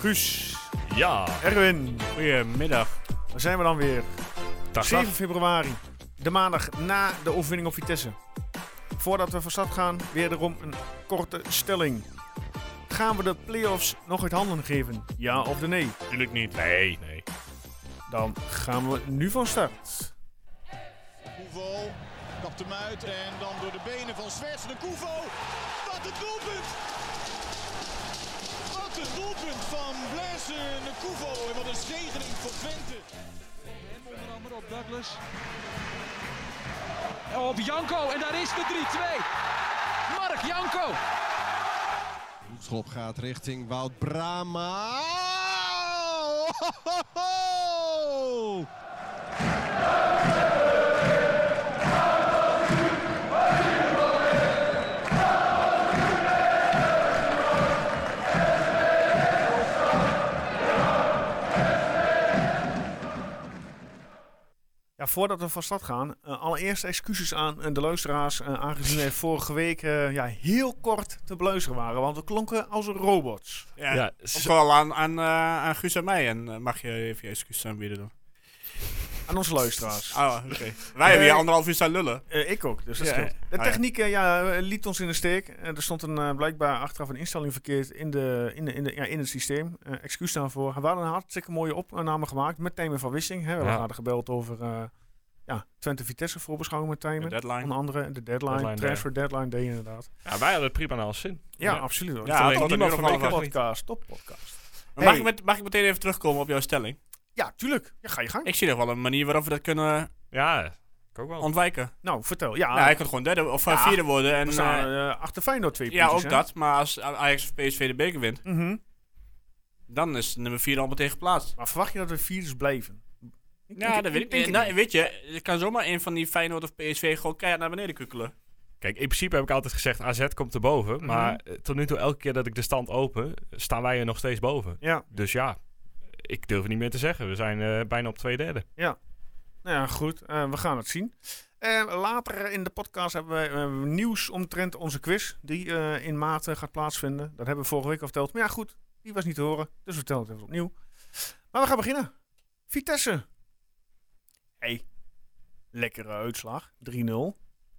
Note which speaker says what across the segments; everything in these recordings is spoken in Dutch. Speaker 1: Guus,
Speaker 2: Ja,
Speaker 1: Erwin,
Speaker 2: goedemiddag.
Speaker 1: daar zijn we dan weer.
Speaker 2: Dag,
Speaker 1: 7 februari, de maandag na de overwinning op Vitesse. Voordat we van start gaan, weer erom een korte stelling. Gaan we de play-offs nog uit handen geven? Ja of de nee?
Speaker 2: Natuurlijk niet. Nee, nee.
Speaker 1: Dan gaan we nu van start.
Speaker 3: Koevo kapt hem uit en dan door de benen van Zwerts de Koevo. Wat een doelpunt! Wat een doelpunt van Blaise de Koevo en wat een zegening voor Twente.
Speaker 4: Onder andere op Douglas. Op Janko en daar is de 3-2. Mark Janko.
Speaker 5: Schop gaat richting Wout Brama.
Speaker 1: Ja, voordat we van start gaan, eh, allereerst excuses aan eh, de luisteraars. eh, aangezien we vorige week eh, ja, heel kort te beluisteren waren, want we klonken als robots.
Speaker 6: Ja,
Speaker 2: Ja,
Speaker 6: ook
Speaker 2: zo-
Speaker 6: wel aan, aan, eh, aan Guus en mij. En eh, mag je even je excuses aanbieden dan?
Speaker 1: Aan onze luisteraars.
Speaker 6: Oh, oké. Wij hebben hier anderhalf uur staan lullen.
Speaker 1: Eh, ik ook, dus dat
Speaker 6: Ja,
Speaker 1: scheelt.
Speaker 6: hè?
Speaker 1: De
Speaker 6: Ah, ja.
Speaker 1: techniek eh, ja, eh, liet ons in de steek. Eh, er stond een, eh, blijkbaar achteraf een instelling verkeerd in, de, in, de, in, de, ja, in het systeem. Eh, excuus daarvoor. We hadden een hartstikke mooie opname gemaakt met Tijmen van Wissing. Hè. We
Speaker 2: Ja.
Speaker 1: hadden gebeld over eh, ja, Twente Vitesse voorbeschouwing met
Speaker 6: De
Speaker 1: Tijmen.
Speaker 6: deadline.
Speaker 1: Onder andere de deadline,
Speaker 2: Deadline day.
Speaker 1: transfer deadline day inderdaad.
Speaker 2: Ja, wij hadden het prima naar ons zin.
Speaker 1: Ja,
Speaker 6: Ja.
Speaker 1: absoluut. hoor.
Speaker 6: Ja,
Speaker 1: Ik vond
Speaker 6: tot
Speaker 1: het
Speaker 6: een
Speaker 1: niemand
Speaker 6: uur of
Speaker 1: van
Speaker 6: half
Speaker 1: de
Speaker 6: acht
Speaker 1: podcast. Top podcast.
Speaker 6: Maar Mag, ik met, mag ik meteen even terugkomen op jouw stelling?
Speaker 1: Ja, tuurlijk. Ja, ga je gang.
Speaker 6: Ik zie nog wel een manier waarop we dat kunnen
Speaker 2: Ja, ik ook wel.
Speaker 6: ontwijken.
Speaker 1: Nou, vertel. Ja,
Speaker 6: Oh. ja, hij kan gewoon derde of eh,
Speaker 1: Ja.
Speaker 6: vierde worden. En,
Speaker 1: we staan
Speaker 6: eh,
Speaker 1: eh, achter Feyenoord twee
Speaker 6: ja, ook
Speaker 1: puntjes, hè?
Speaker 6: dat. Maar als Ajax of PSV de beker wint,
Speaker 1: Mhm.
Speaker 6: dan is nummer vier al meteen geplaatst.
Speaker 1: Maar verwacht je dat we vierders blijven?
Speaker 6: Ja, dat weet ik
Speaker 1: denk
Speaker 6: niet.
Speaker 1: het
Speaker 6: Nou, weet je, het kan zomaar een van die Feyenoord of PSV gewoon keihard naar beneden kukkelen.
Speaker 2: Kijk, in principe heb ik altijd gezegd AZ komt erboven.
Speaker 1: Mhm.
Speaker 2: Maar eh, tot nu toe, elke keer dat ik de stand open, staan wij er nog steeds boven.
Speaker 1: Ja,
Speaker 2: Dus ja, ik durf het niet meer te zeggen. We zijn eh, bijna op twee derde.
Speaker 1: nou ja, goed. eh, we gaan het zien. Eh, later in de podcast hebben we eh, nieuws omtrent onze quiz. Die eh, in maart eh, gaat plaatsvinden. Dat hebben we vorige week al verteld. Maar ja, goed. Die was niet te horen. Dus we vertellen het even opnieuw. Maar we gaan beginnen. Vitesse. hey, lekkere uitslag. 3-0.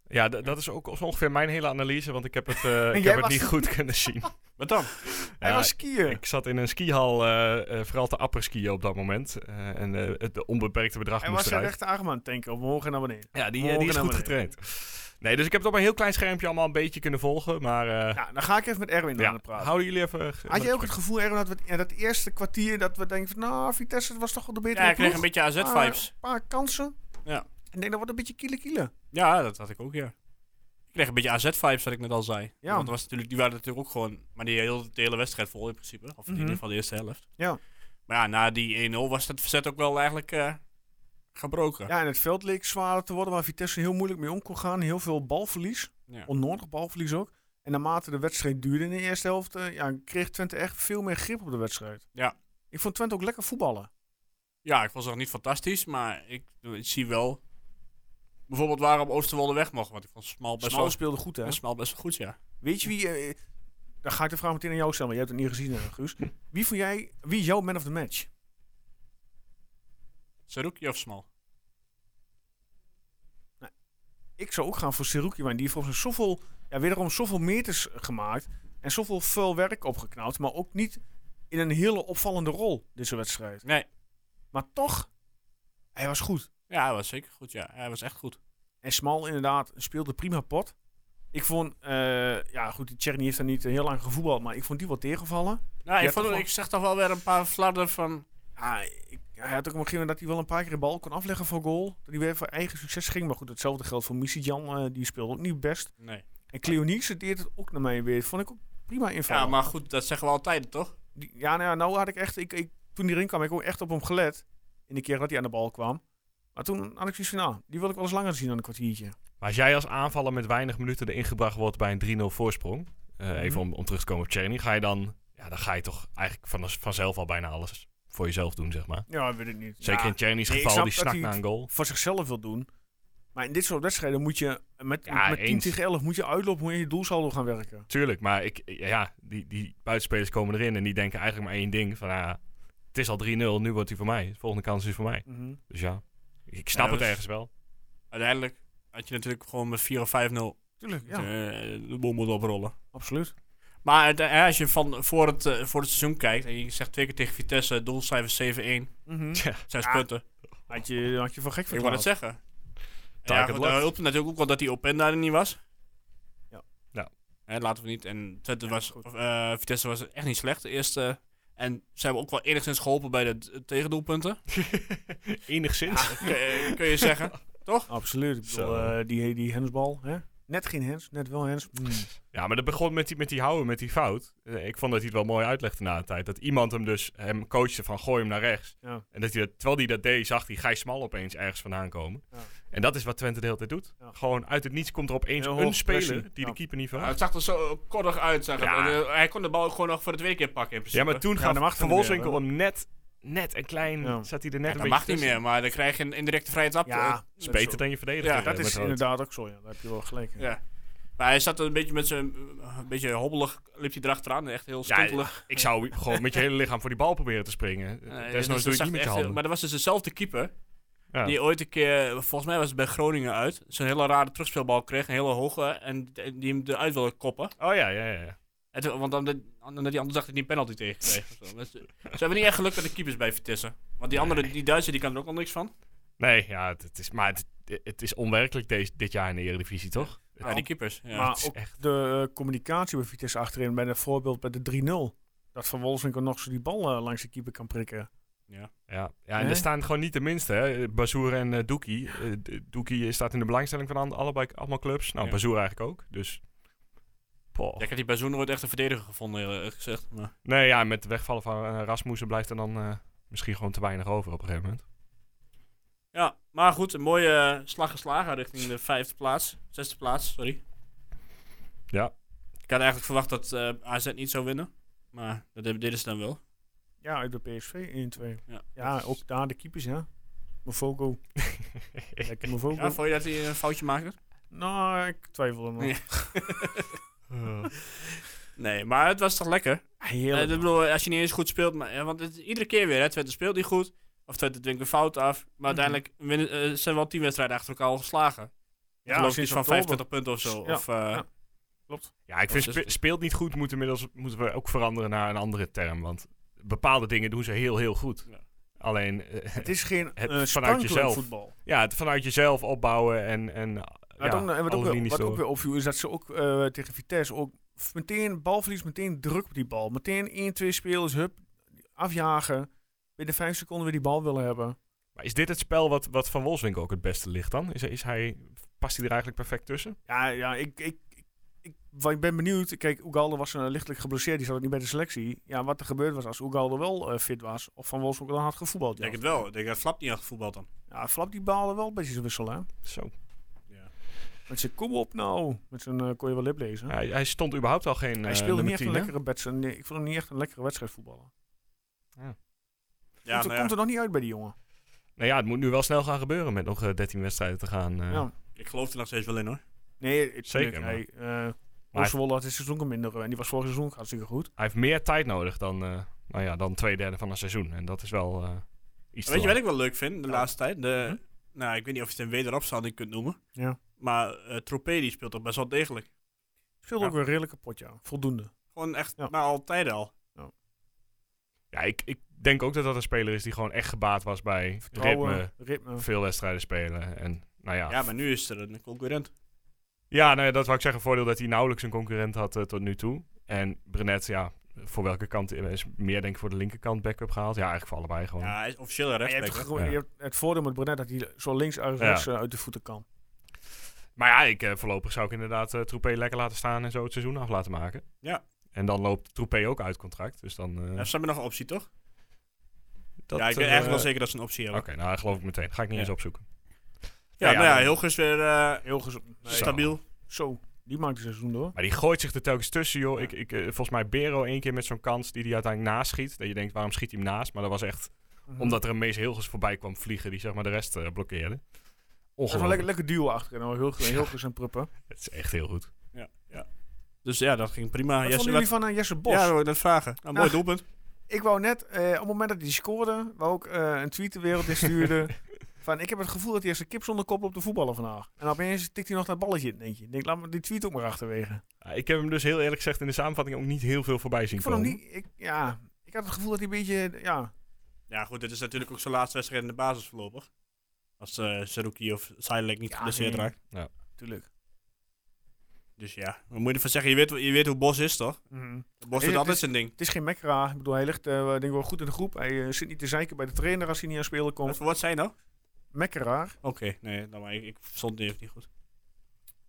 Speaker 2: Ja, d- dat is ook zo ongeveer mijn hele analyse, want ik heb het, eh, ik
Speaker 1: Jij
Speaker 2: heb het
Speaker 1: was-
Speaker 2: niet goed kunnen zien.
Speaker 6: Wat dan?
Speaker 1: Hij
Speaker 2: Ja,
Speaker 1: was skiën.
Speaker 2: Ik zat in een skihal, eh, eh, vooral te apperskiën op dat moment. Eh, en eh, het de onbeperkte bedrag
Speaker 1: Hij
Speaker 2: moest
Speaker 1: was zijn
Speaker 2: eruit.
Speaker 1: rechterarm aan het tanken. Omhoog en naar beneden.
Speaker 2: Ja, die, eh,
Speaker 1: Morgen
Speaker 2: die is
Speaker 1: naar
Speaker 2: goed
Speaker 1: beneden.
Speaker 2: getraind. Nee, dus ik heb het op een heel klein schermpje allemaal een beetje kunnen volgen. Maar eh,
Speaker 1: Nou, dan ga ik even met Erwin aan
Speaker 2: ja,
Speaker 1: het praten.
Speaker 2: houden jullie even... eh,
Speaker 1: Had jij ook het gevoel, Erwin, dat we ja, dat eerste kwartier dat we denken van, nou, Vitesse was toch wel de betere
Speaker 6: Ja, ik kreeg
Speaker 1: ploeg?
Speaker 6: een beetje AZ-vibes.
Speaker 1: Een paar kansen.
Speaker 6: Ja.
Speaker 1: Ik denk dat wordt een beetje kiele kiele.
Speaker 6: Ja, dat had ik ook, ja. Ik kreeg een beetje AZ-vibes, wat ik net al zei.
Speaker 1: Ja.
Speaker 6: Want dat was natuurlijk, die waren natuurlijk ook gewoon... Maar die heel, de hele wedstrijd vol in principe. Of in
Speaker 1: Mhm.
Speaker 6: ieder geval de eerste helft.
Speaker 1: Ja.
Speaker 6: Maar ja, na die 1-0 was het verzet ook wel eigenlijk eh, gebroken.
Speaker 1: Ja, en het veld leek zwaarder te worden, waar Vitesse heel moeilijk mee om kon gaan. Heel veel balverlies.
Speaker 6: Ja.
Speaker 1: Onnodig balverlies ook. En naarmate de wedstrijd duurde in de eerste helft, eh, ja, kreeg Twente echt veel meer grip op de wedstrijd.
Speaker 6: Ja.
Speaker 1: Ik vond Twente ook lekker voetballen.
Speaker 6: Ja, ik was nog niet fantastisch, maar ik, ik zie wel... Bijvoorbeeld waarom Oosterwolde weg mocht. Want ik vond Smal best,
Speaker 1: Smal
Speaker 6: wel,
Speaker 1: speelde goed, hè?
Speaker 6: ja, Smal best wel goed, ja.
Speaker 1: Weet je wie... eh, dan ga ik de vraag meteen aan jou stellen, want jij hebt het niet gezien, eh, Guus. Wie vond jij... Wie is jouw man of the match?
Speaker 6: Saruki of Smal?
Speaker 1: ik zou ook gaan voor Seruki, want die heeft volgens mij zoveel, ja, wederom zoveel meters gemaakt en zoveel vuil werk opgeknapt, maar ook niet in een hele opvallende rol deze wedstrijd.
Speaker 6: Nee.
Speaker 1: Maar toch, hij was goed.
Speaker 6: Ja, hij was zeker goed, ja. Hij was echt goed.
Speaker 1: En Smal inderdaad speelde prima pot. Ik vond, eh, ja goed, die Tjerni heeft daar niet eh, heel lang gevoetbald, maar ik vond die wel tegenvallen.
Speaker 6: Nou,
Speaker 1: Ja,
Speaker 6: ik, vond,
Speaker 1: toch wel.
Speaker 6: ik zag toch wel weer een paar fladden van...
Speaker 1: Ja, ik, hij had ook op een gegeven moment dat hij wel een paar keer de bal kon afleggen voor goal. Dat hij weer voor eigen succes ging. Maar goed, hetzelfde geldt voor Missy Jan, die speelde ook niet best.
Speaker 6: Nee.
Speaker 1: En Cleonice deed het ook naar mijn weer. Vond ik ook prima invallen.
Speaker 6: Ja, maar goed, dat zeggen we altijd, toch?
Speaker 1: Die- ja, nou, ja, nou had ik echt. Ik, ik, toen die erin kwam, heb ik ook echt op hem gelet. In de keer dat hij aan de bal kwam. Maar toen had ik zoiets van, nou, die wil ik wel eens langer zien dan een kwartiertje.
Speaker 2: Maar als jij als aanvaller met weinig minuten erin gebracht wordt bij een 3-0 voorsprong... eh,
Speaker 1: Mhm.
Speaker 2: Even om, om terug te komen op Cherny, ga je dan... Ja, dan ga je toch eigenlijk van, vanzelf al bijna alles voor jezelf doen, zeg maar.
Speaker 1: Ja, weet ik niet.
Speaker 2: Zeker in Cherny's
Speaker 1: nee, ik
Speaker 2: geval,
Speaker 1: snap
Speaker 2: die
Speaker 1: dat
Speaker 2: snakt
Speaker 1: hij
Speaker 2: naar
Speaker 1: het-
Speaker 2: een goal.
Speaker 1: Voor zichzelf wil doen. Maar Maar in dit soort wedstrijden moet je met,
Speaker 2: Ja,
Speaker 1: met 10
Speaker 2: eens.
Speaker 1: tegen 11 moet je uitlopen, moet je je doelsaldo gaan werken.
Speaker 2: Tuurlijk, maar ik, ja, die, die buitenspelers komen erin en die denken eigenlijk maar één ding. Van, ah, het is al 3-0, nu wordt hij voor mij. De volgende kans is voor mij.
Speaker 1: Mhm.
Speaker 2: Dus ja, ik snap het
Speaker 6: Ja, dat is-
Speaker 1: dus-
Speaker 2: ergens wel.
Speaker 6: Uiteindelijk had je natuurlijk gewoon met 4 of 5-0
Speaker 1: Tuurlijk, ja,
Speaker 6: eh, de boel moet oprollen.
Speaker 1: absoluut.
Speaker 6: Maar het- eh, als je van voor het, eh, voor het seizoen kijkt en je zegt twee keer tegen Vitesse, doelcijfer 7-1,
Speaker 1: Mhm.
Speaker 2: Tja,
Speaker 6: 6
Speaker 1: Ja,
Speaker 6: punten.
Speaker 1: Had, je, had je van gek
Speaker 6: Ik wou
Speaker 1: verklaard.
Speaker 6: het zeggen.
Speaker 2: Taak
Speaker 6: Ja,
Speaker 2: het
Speaker 6: goed,
Speaker 2: land.
Speaker 1: eh,
Speaker 6: daar hulp het natuurlijk ook wel dat die Openda er niet was.
Speaker 1: Ja.
Speaker 2: Ja.
Speaker 6: Hè, laten we niet. En Twente
Speaker 1: Ja,
Speaker 6: was,
Speaker 1: goed.
Speaker 6: of, eh, Vitesse was echt niet slecht. De eerste. En ze hebben ook wel enigszins geholpen bij de d- tegendoelpunten.
Speaker 2: enigszins.
Speaker 6: kun, je- kun je zeggen.
Speaker 1: Absoluut. Ik bedoel,
Speaker 2: Zo.
Speaker 1: eh, die, die hensbal, hè? Net geen hens, net wel hens. Mm.
Speaker 2: Ja, maar dat begon met die, met die houden, met die fout. Eh, Ik vond dat hij het wel mooi uitlegde na de tijd. Dat iemand hem dus hem coachte van gooi hem naar rechts.
Speaker 1: Ja.
Speaker 2: En dat hij dat, terwijl hij dat deed, zag hij Gijs Smal opeens ergens vandaan komen.
Speaker 1: Ja.
Speaker 2: En dat is wat Twente de hele tijd doet.
Speaker 1: Ja.
Speaker 2: Gewoon uit het niets komt er opeens
Speaker 1: Heel
Speaker 2: een
Speaker 1: hoog
Speaker 2: speler
Speaker 1: pressie.
Speaker 2: die
Speaker 1: Ja.
Speaker 2: de keeper niet
Speaker 6: Ja,
Speaker 2: verwacht.
Speaker 6: het zag er zo koddig uit. Zeg het.
Speaker 2: Ja.
Speaker 6: En, eh, Hij kon de bal ook gewoon nog voor de tweede keer pakken in
Speaker 2: Ja,
Speaker 6: principe.
Speaker 2: maar toen
Speaker 1: Ja,
Speaker 2: gaf
Speaker 1: dan mag het
Speaker 2: Van
Speaker 1: niet meer,
Speaker 2: Wolfswinkel
Speaker 1: hè?
Speaker 2: hem net, net een klein...
Speaker 1: Ja.
Speaker 2: Zat hij er net
Speaker 6: Ja,
Speaker 2: een beetje
Speaker 6: dat mag niet
Speaker 2: tussen.
Speaker 6: meer, maar dan krijg je een indirecte vrije trap.
Speaker 1: Ja,
Speaker 6: eh,
Speaker 1: dat
Speaker 2: is beter
Speaker 1: zo.
Speaker 2: dan je verdediger.
Speaker 6: Ja,
Speaker 2: eh,
Speaker 1: Dat
Speaker 2: met
Speaker 1: is
Speaker 2: rood.
Speaker 1: inderdaad ook zo, ja. Daar heb je wel gelijk in.
Speaker 6: Ja. Maar hij zat er een beetje met zijn... Een beetje hobbelig liep hij erachteraan. Echt heel
Speaker 2: Ja,
Speaker 6: stuntelig.
Speaker 2: Ik zou gewoon met je hele lichaam voor die bal proberen te springen.
Speaker 6: Nee, dat
Speaker 2: Desnoods
Speaker 6: is-
Speaker 2: doe
Speaker 6: Eh, dus
Speaker 2: je
Speaker 6: dat
Speaker 2: het
Speaker 6: zag
Speaker 2: niet met je
Speaker 6: echt-
Speaker 2: handen.
Speaker 6: Maar dat was dus dezelfde keeper.
Speaker 2: Ja.
Speaker 6: Die ooit een keer, volgens mij was het bij Groningen uit, zo'n hele rare terugspeelbal kreeg, een hele hoge, en d- die hem eruit wilde koppen.
Speaker 2: Oh ja, ja, ja. ja.
Speaker 6: En toen- want dan, de, omdat die ander dacht dat hij een penalty tegen kreeg. of zo. Dus, eh, Ze hebben niet echt geluk met de keepers bij Vitesse. Want die andere, die Duitser, die kan er ook al niks van.
Speaker 2: Nee, ja, het, het is, maar het, het is onwerkelijk deze, dit jaar in de Eredivisie, toch?
Speaker 6: Ja, Ah, die keepers. Ja.
Speaker 1: maar
Speaker 2: is
Speaker 1: ook de eh, communicatie bij Vitesse achterin, bij dat voorbeeld bij de 3-0. Dat Van Wolfswinkel nog zo die bal eh, langs de keeper kan prikken.
Speaker 2: Ja, ja en
Speaker 1: Hè?
Speaker 2: er staan gewoon niet de minste, hè. Bazoer en eh, Doekie. Eh, D- Doekie staat in de belangstelling van an- allebei, allemaal clubs. Nou,
Speaker 6: Ja.
Speaker 2: Bazoer eigenlijk ook, dus... Poh.
Speaker 6: Ja, ik heb die Bazoen nooit echt een verdediger gevonden, eerlijk gezegd. Maar,
Speaker 2: Nee, ja, met het wegvallen van eh, Rasmussen blijft er dan eh, misschien gewoon te weinig over op een gegeven moment.
Speaker 6: ja, maar goed, een mooie eh, slag geslagen richting de vijfde plaats. Zesde plaats, sorry.
Speaker 2: Ja.
Speaker 6: Ik had eigenlijk verwacht dat eh, AZ niet zou winnen. Maar dat heb- deden ze dan wel.
Speaker 1: Ja, uit de PSV 1-2. Ja,
Speaker 6: Ja.
Speaker 1: ook daar de keepers, ja. Mofogo. Lekker Mofogo.
Speaker 6: Ja, vond je dat hij een foutje maakte?
Speaker 1: Nou, ik twijfel er nog.
Speaker 6: Ja. Nee, maar het was toch lekker? Eh,
Speaker 1: Heerlijk.
Speaker 6: ik bedoel, als je niet eens goed speelt, maar, eh, want het, iedere keer weer, hè, Twente speelt niet goed. Of Twente dwingt een fout af. Maar uiteindelijk winnen, eh, zijn wel tien wedstrijden achter elkaar al geslagen. Mhm. Ja, geloof ik
Speaker 1: sinds
Speaker 6: iets van
Speaker 1: oktober.
Speaker 6: 25 punten of zo.
Speaker 1: Ja,
Speaker 6: Of, eh,
Speaker 1: ja.
Speaker 2: Ja, ik
Speaker 6: Of
Speaker 2: vind
Speaker 6: is
Speaker 2: spe-
Speaker 6: het-
Speaker 2: speelt niet goed moet inmiddels, moeten we ook veranderen naar een andere term. Want bepaalde dingen doen ze heel, heel goed.
Speaker 6: Ja.
Speaker 2: Alleen, eh,
Speaker 1: Het is geen
Speaker 2: Het
Speaker 1: eh
Speaker 2: vanuit
Speaker 1: spankelijk
Speaker 2: jezelf.
Speaker 1: voetbal.
Speaker 2: ja, het vanuit jezelf opbouwen en... en
Speaker 1: Wat,
Speaker 2: ja,
Speaker 6: eh,
Speaker 1: ook, en wat,
Speaker 2: alle
Speaker 1: ook, weer,
Speaker 2: linies
Speaker 1: wat ook
Speaker 2: door.
Speaker 1: weer opviel is dat ze ook eh, tegen Vitesse ook f- meteen balverlies, meteen druk op die bal. Meteen 1-2 spelers, hup, afjagen. Binnen 5 seconden weer die bal willen hebben.
Speaker 2: Maar is dit het spel wat, wat Van Wolfswinkel ook het beste ligt dan? Is, is hij, past hij er eigenlijk perfect tussen?
Speaker 1: Ja, ja ik, ik, ik, ik, wa- ik ben benieuwd. Kijk, Oegalde was eh, lichtelijk geblesseerd. Die zat ook niet bij de selectie. Ja, wat er gebeurd was als Oegalde wel eh, fit was. Of Van Wolfsburg dan had gevoetbald.
Speaker 6: Ik denk
Speaker 1: Ja.
Speaker 6: het wel. Ik denk dat Flap niet echt voetbal dan.
Speaker 1: ja, Flap die baalde wel een beetje zijn wissel, hè.
Speaker 2: Zo.
Speaker 1: Met zijn kom op nou. Met zijn eh, kon je wel lip lezen.
Speaker 2: Hij, hij stond überhaupt al geen.
Speaker 1: Hij
Speaker 2: eh,
Speaker 1: speelde niet echt
Speaker 2: nummer
Speaker 1: een
Speaker 2: 10, hè?
Speaker 1: lekkere wedstrijd. Nee, ik vond hem niet echt een lekkere wedstrijd voetballen.
Speaker 6: Ja,
Speaker 1: komt, er,
Speaker 6: nou ja.
Speaker 1: komt er nog niet uit bij die jongen.
Speaker 2: Nou ja, het moet nu wel snel gaan gebeuren met nog eh, 13 wedstrijden te gaan. eh.
Speaker 1: Ja.
Speaker 6: Ik geloof er nog steeds wel in hoor.
Speaker 1: Nee, het,
Speaker 2: Zeker,
Speaker 1: tuurlijk,
Speaker 2: maar-
Speaker 1: Hij, eh
Speaker 2: hij-
Speaker 1: Oswald had dit seizoen kan minderen. En die was vorig seizoen ook hartstikke goed.
Speaker 2: Hij heeft meer tijd nodig dan, eh, nou ja, dan twee derde van een seizoen. En dat is wel eh, iets.
Speaker 6: Weet
Speaker 2: te
Speaker 6: je
Speaker 2: lang.
Speaker 6: wat ik wel leuk vind de laatste tijd? De, Nou, ik weet niet of je het een wederopstanding kunt noemen.
Speaker 1: Hm? Ja.
Speaker 6: Maar eh Tropé die speelt toch best wel degelijk.
Speaker 1: Speelde ook een redelijke pot, ja. Voldoende.
Speaker 6: Gewoon echt,
Speaker 1: Ja.
Speaker 6: maar altijd al.
Speaker 2: Ja, ik, ik denk ook dat dat een speler is die gewoon echt gebaat was bij
Speaker 1: Vertrouwen,
Speaker 2: ritme,
Speaker 1: ritme.
Speaker 2: veel wedstrijden spelen. En nou ja.
Speaker 6: Ja.
Speaker 2: Ja,
Speaker 6: maar nu is er een concurrent.
Speaker 2: nou ja, dat wou ik zeggen. Voordeel dat hij nauwelijks een concurrent had eh, tot nu toe. En Brenet, ja, voor welke kant eh, is meer denk ik voor de linkerkant backup gehaald? Ja, eigenlijk voor allebei gewoon.
Speaker 6: Ja, hij is officieel een
Speaker 1: Maar je, hebt,
Speaker 6: rechtsback. hè?
Speaker 1: gewoon-
Speaker 2: Ja.
Speaker 1: je hebt het voordeel met Brenet dat hij zo links uit,
Speaker 2: Ja.
Speaker 1: rechts, eh, uit de voeten kan.
Speaker 2: Maar ja, ik, eh, voorlopig zou ik inderdaad eh Troepé lekker laten staan en zo het seizoen af laten maken.
Speaker 6: Ja.
Speaker 2: En dan loopt Troepé ook uit contract. Dus dan. eh,
Speaker 6: Ja, ze hebben nog een optie, toch?
Speaker 2: dat,
Speaker 6: ja, ik weet
Speaker 2: eh,
Speaker 6: eigenlijk wel zeker dat ze een optie
Speaker 2: Oké,
Speaker 6: hebben.
Speaker 2: nou dat geloof ik meteen. Ga ik niet
Speaker 6: Ja.
Speaker 2: eens opzoeken.
Speaker 6: Ja,
Speaker 2: Ja,
Speaker 6: nou ja,
Speaker 2: dan-
Speaker 6: Hilgers weer eh,
Speaker 1: Heel gezond. Nee,
Speaker 2: Zo.
Speaker 6: stabiel.
Speaker 1: Zo, die maakt het seizoen door.
Speaker 2: Maar die gooit zich er telkens tussen, joh. Ik, ik, eh, volgens mij Bero één keer met zo'n kans die hij uiteindelijk naschiet. Dat je denkt, waarom schiet hij hem naast? Maar dat was echt
Speaker 1: Mhm.
Speaker 2: omdat er een Mees Hilgers voorbij kwam vliegen die zeg maar de rest eh, blokkeerde.
Speaker 1: Dat is wel
Speaker 2: Ongelooflijk.
Speaker 1: lekker, lekker duo achterin. hoor. Heel, heel goed aan pruppen.
Speaker 2: Het is echt heel goed.
Speaker 6: Ja, ja. Dus ja, dat ging prima.
Speaker 1: Wat
Speaker 6: Jesse,
Speaker 1: vonden
Speaker 6: wat-
Speaker 1: jullie van eh, Jesse Bos?
Speaker 6: Ja, dat wil ik net vragen. Nou, mooi
Speaker 1: Ja.
Speaker 6: doelpunt.
Speaker 1: Ik wou net, eh, op het moment dat hij scoorde, wou ik eh, een tweet de wereld in sturen. van, ik heb het gevoel dat hij eerst een kip zonder kop op de voetballen vandaag. En opeens tikt hij nog dat balletje in, denk je. Ik Denk, laat me die tweet ook maar achterwege.
Speaker 2: Ah, Ik heb hem dus heel eerlijk gezegd in de samenvatting ook niet heel veel voorbij zien
Speaker 1: Ik vond hem
Speaker 2: komen.
Speaker 1: niet, ik, ja, ik had het gevoel dat hij een beetje, ja,
Speaker 6: Ja, goed, dit is natuurlijk ook zijn laatste wedstrijd in de basis voorlopig. Als eh Saruki of Silek niet
Speaker 1: Ja,
Speaker 6: geblesseerd
Speaker 1: nee.
Speaker 6: raakt.
Speaker 1: tuurlijk.
Speaker 6: Dus ja, wat moet je ervan zeggen? Je weet, je weet hoe Bos is, toch?
Speaker 1: Mhm.
Speaker 6: Bos
Speaker 1: het
Speaker 6: doet altijd
Speaker 1: is-
Speaker 6: zijn ding.
Speaker 1: Het is geen mekkeraar. Ik bedoel, hij ligt eh, denk ik wel goed in de groep. Hij eh, zit niet te zeiken bij de trainer als hij niet aan spelen
Speaker 6: Wat
Speaker 1: komt.
Speaker 6: voor woord zijn nou?
Speaker 1: Mekkeraar.
Speaker 6: Oké, nee, nou, maar ik, ik stond die even niet goed.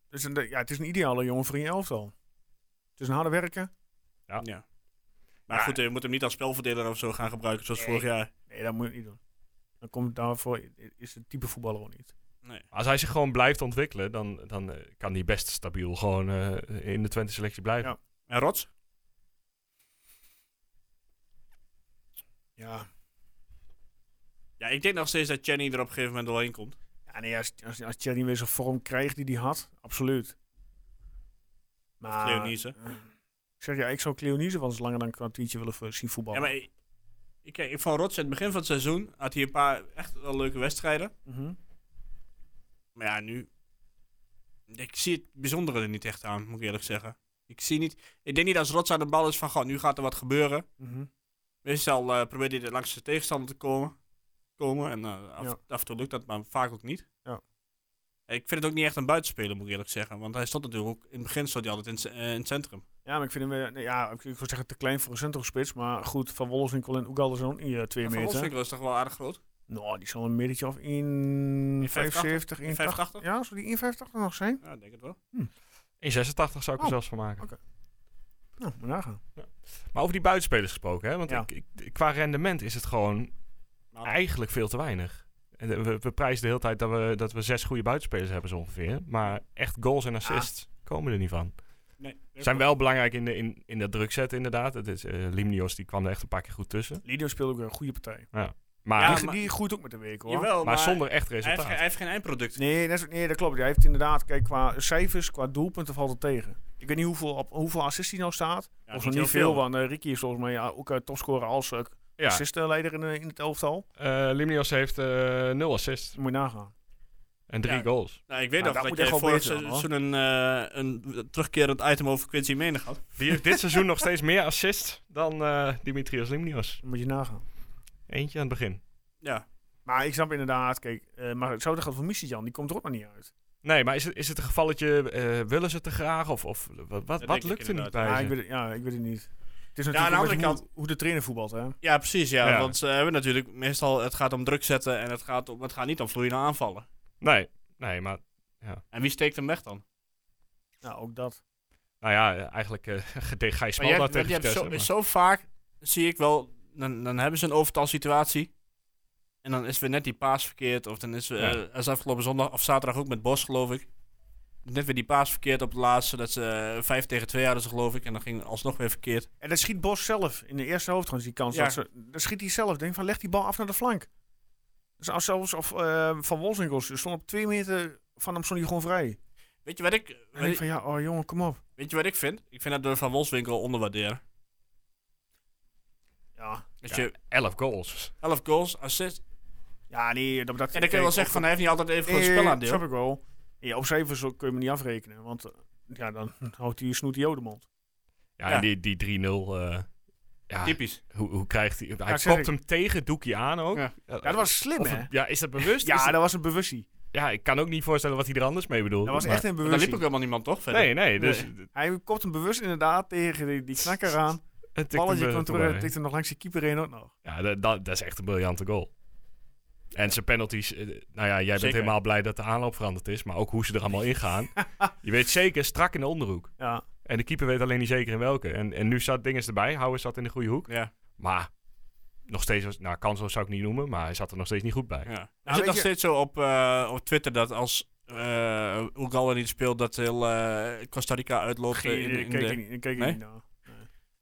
Speaker 1: Dus een, ja, het is een ideale jongen voor in je elftal. Het is een harde werken.
Speaker 2: Ja.
Speaker 6: Ja. Maar
Speaker 2: Ja.
Speaker 6: goed, eh, je moet hem niet als spelverdeler of zo gaan gebruiken zoals vorig jaar.
Speaker 1: Nee, dat moet je niet doen. Dan komt daarvoor, is het type voetballer wel niet.
Speaker 2: Als hij zich gewoon blijft ontwikkelen, dan, dan eh, kan hij best stabiel gewoon eh, in de Twente selectie blijven.
Speaker 1: Ja.
Speaker 6: En Rots?
Speaker 1: Ja,
Speaker 6: Ja, ik denk nog steeds dat Chenny er op een gegeven moment doorheen komt.
Speaker 1: Ja, nee, als, als, als Thierry weer zijn vorm krijgt die hij had, absoluut. Maar,
Speaker 6: Leonise.
Speaker 1: eh, Ik zeg ja, ik zou Cleonise wel eens langer dan een kwartiertje willen vo- zien
Speaker 6: Ja,
Speaker 1: voetballen.
Speaker 6: maar ik, ik, kijk, ik vond Rots in het begin van het seizoen had hij een paar echt wel leuke wedstrijden.
Speaker 1: Mhm.
Speaker 6: Maar ja, nu. Ik zie het bijzondere er niet echt aan, moet ik eerlijk zeggen. Ik zie niet. Ik denk niet als Rots aan de bal is van. God, nu gaat er wat gebeuren.
Speaker 1: Mhm.
Speaker 6: Meestal eh probeert hij er langs de tegenstander te komen. komen en eh, af,
Speaker 1: Ja.
Speaker 6: af en toe lukt dat, maar vaak ook niet.
Speaker 1: Ja.
Speaker 6: Ik vind het ook niet echt een buitenspeler, moet ik eerlijk zeggen. Want hij stond natuurlijk ook. In het begin stond hij altijd in, het ce- eh, in het centrum.
Speaker 1: ja, maar ik vind hem, weer- nee, ja, ik, ik zou zeggen te klein voor een centrumspits. Maar goed, Van Wolfswinkel en Oegalde zijn ook niet eh, twee
Speaker 6: Maar Van
Speaker 1: meter.
Speaker 6: Wolfswinkel is toch wel aardig groot.
Speaker 1: Nou, die zal een middeltje of 1,75, 1,80.
Speaker 6: 1,85?
Speaker 1: Ja, zou die 1,85 nog zijn?
Speaker 6: Ja, ik denk het wel.
Speaker 2: In 86 zou ik er
Speaker 1: Oh.
Speaker 2: zelfs van maken.
Speaker 1: Nou, moet nagaan.
Speaker 2: Maar over die buitenspelers gesproken, hè? want
Speaker 1: Ja.
Speaker 2: ik, ik- qua rendement is het gewoon
Speaker 6: Maar
Speaker 2: eigenlijk veel te weinig. En de- we, we prijzen de hele tijd dat we, dat we zes goede buitenspelers hebben zo ongeveer. Maar echt goals en assists komen er niet van.
Speaker 6: nee,
Speaker 2: Zijn wel belangrijk in, de, in, in dat druk zetten inderdaad. Het is, eh, Limnios die kwam er echt een paar keer goed tussen.
Speaker 1: Lidio speelt ook weer een goede partij.
Speaker 2: Maar,
Speaker 6: Ja,
Speaker 1: die,
Speaker 6: maar-
Speaker 1: die groeit ook met de week hoor.
Speaker 6: Jawel,
Speaker 2: maar, zonder echt
Speaker 6: Hij heeft,
Speaker 2: resultaat.
Speaker 6: geen- hij heeft geen eindproduct.
Speaker 1: Nee, dat, is- nee, dat klopt. Hij heeft inderdaad, kijk, qua cijfers, qua doelpunten valt het tegen. Ik weet niet hoeveel, op, hoeveel assist hij nou staat.
Speaker 6: Ja,
Speaker 1: of nog
Speaker 6: heel
Speaker 1: niet veel, want eh, Ricky is volgens mij ja, ook eh, topscorer als eh
Speaker 2: ja.
Speaker 1: assistleider in, eh, in het elftal.
Speaker 2: Eh, Limnios heeft eh nul assists
Speaker 1: Dat moet je nagaan.
Speaker 2: en drie
Speaker 6: Ja.
Speaker 2: goals.
Speaker 6: Nou, ik weet
Speaker 1: Nou, dat
Speaker 6: nog dat,
Speaker 1: moet echt
Speaker 6: je
Speaker 1: wel
Speaker 6: vorig
Speaker 1: beter dan,
Speaker 6: seizoen een, eh, een terugkerend item over Quincy Menig had.
Speaker 2: Die heeft dit seizoen nog steeds meer assists dan eh Dimitrios Limnios.
Speaker 1: Dat moet je nagaan.
Speaker 2: Eentje aan het begin.
Speaker 6: Ja.
Speaker 1: Maar ik snap inderdaad, kijk, eh maar het zou toch voor Missie Jan, die komt er ook nog niet uit.
Speaker 2: Nee, maar is het, is het een gevalletje, eh, willen ze te graag? Of, of wat, wat,
Speaker 6: denk
Speaker 2: wat
Speaker 6: ik
Speaker 2: lukt er niet
Speaker 6: inderdaad.
Speaker 2: bij
Speaker 1: Ja,
Speaker 2: ze?
Speaker 1: ik weet, het- ja, ik weet het niet. Het is natuurlijk
Speaker 6: aan de
Speaker 1: ook
Speaker 6: andere
Speaker 1: met hoe-
Speaker 6: kant-
Speaker 1: hoe de trainer voetbalt, hè.
Speaker 6: ja, precies. Ja,
Speaker 2: Ja.
Speaker 6: Want ze hebben natuurlijk meestal het gaat om druk zetten en het gaat, om, het gaat niet om vloeiende aanvallen.
Speaker 2: Nee, nee, maar
Speaker 6: En wie steekt hem weg dan?
Speaker 1: Nou, ook dat.
Speaker 2: nou ja, eh, eigenlijk eh deed Gijs
Speaker 6: Maar
Speaker 2: Smal
Speaker 6: je
Speaker 2: dat
Speaker 6: hebt, je
Speaker 2: tegen
Speaker 6: hebt
Speaker 2: Vitesse,
Speaker 6: zo,
Speaker 2: maar-
Speaker 6: zo vaak zie ik wel, dan, dan hebben ze een overtalsituatie. En dan is weer net die paas verkeerd. Of dan is we,
Speaker 2: Ja.
Speaker 6: eh, als afgelopen zondag of zaterdag ook met Bos, geloof ik. Net weer die paas verkeerd op de laatste. Dat ze eh, vijf tegen twee hadden, ze, geloof ik. En dan ging alsnog weer verkeerd.
Speaker 1: En dat schiet Bos zelf in de eerste hoofdgang, die kans.
Speaker 6: Ja.
Speaker 1: Dat, ze, dat schiet hij zelf. Denk van, leg die bal af naar de flank. Dus als zelfs of, eh, Van Wolfswinkel stond op twee meter van hem, stond hij gewoon vrij.
Speaker 6: Weet je wat ik,
Speaker 1: En ik
Speaker 6: weet,
Speaker 1: van ja, oh jongen, kom op.
Speaker 6: weet je wat ik vind? Ik vind dat we Van Wolfswinkel onderwaarderen.
Speaker 1: Ja,
Speaker 6: Dat
Speaker 2: Ja.
Speaker 6: je
Speaker 2: Elf goals.
Speaker 6: 11 goals, assist.
Speaker 1: ja nee, dat, dat
Speaker 6: En dan kun je wel zeggen van hij heeft niet altijd even goed
Speaker 1: Nee,
Speaker 6: spelaandeel.
Speaker 1: eh, snap ik wel. Ja, op cijfers kun je me niet afrekenen, want eh, ja, dan houdt hij snoet de mond.
Speaker 2: Ja,
Speaker 6: Ja.
Speaker 2: en die, die 3-0. eh, ja,
Speaker 6: Typisch.
Speaker 2: hoe, hoe krijgt hij... Hij
Speaker 1: Ja, zeg
Speaker 2: kopt
Speaker 1: ik.
Speaker 2: hem tegen Doekie aan ook.
Speaker 6: Ja.
Speaker 1: Ja, dat was slim,
Speaker 2: Of
Speaker 1: hè?
Speaker 2: het- ja, is dat bewust? Is
Speaker 1: Ja,
Speaker 2: dat-
Speaker 1: dat was een bewustie.
Speaker 2: ja, ik kan ook niet voorstellen wat hij er anders mee bedoelt.
Speaker 1: Dat was
Speaker 2: maar-
Speaker 1: echt een
Speaker 6: Daar liep ook
Speaker 1: bewustie.
Speaker 6: helemaal niemand toch verder.
Speaker 2: Nee, nee. Dus
Speaker 1: Hij kopt hem bewust inderdaad tegen die, die knakker aan.
Speaker 2: het tikt
Speaker 1: Balletje
Speaker 2: hem, eh,
Speaker 1: komt
Speaker 2: voorbij.
Speaker 1: terug, tikt hem nog langs die keeper heen ook nog.
Speaker 2: Ja, dat, dat, dat is echt een briljante goal. En zijn penalties, eh, nou ja, jij bent
Speaker 6: Zeker.
Speaker 2: helemaal blij dat de aanloop veranderd is, maar ook hoe ze er allemaal in gaan. je weet zeker, strak in de onderhoek.
Speaker 1: Ja,
Speaker 2: En de keeper weet alleen niet zeker in welke. En, en nu zat Dinges erbij, Houwers zat in de goede hoek.
Speaker 6: Ja,
Speaker 2: Maar nog steeds, was- nou kansloos zou ik niet noemen, maar hij zat er nog steeds niet goed bij.
Speaker 6: ja. Er
Speaker 1: weet
Speaker 6: zit nog
Speaker 1: je-
Speaker 6: steeds zo op, eh, op Twitter dat als eh Ugalde niet speelt, dat heel eh, Costa Rica uitloopt. eh, in,
Speaker 1: Geen-
Speaker 6: in
Speaker 1: keek ik
Speaker 6: de...
Speaker 1: niet- nou. keek ik
Speaker 6: Nee?
Speaker 1: niet naar.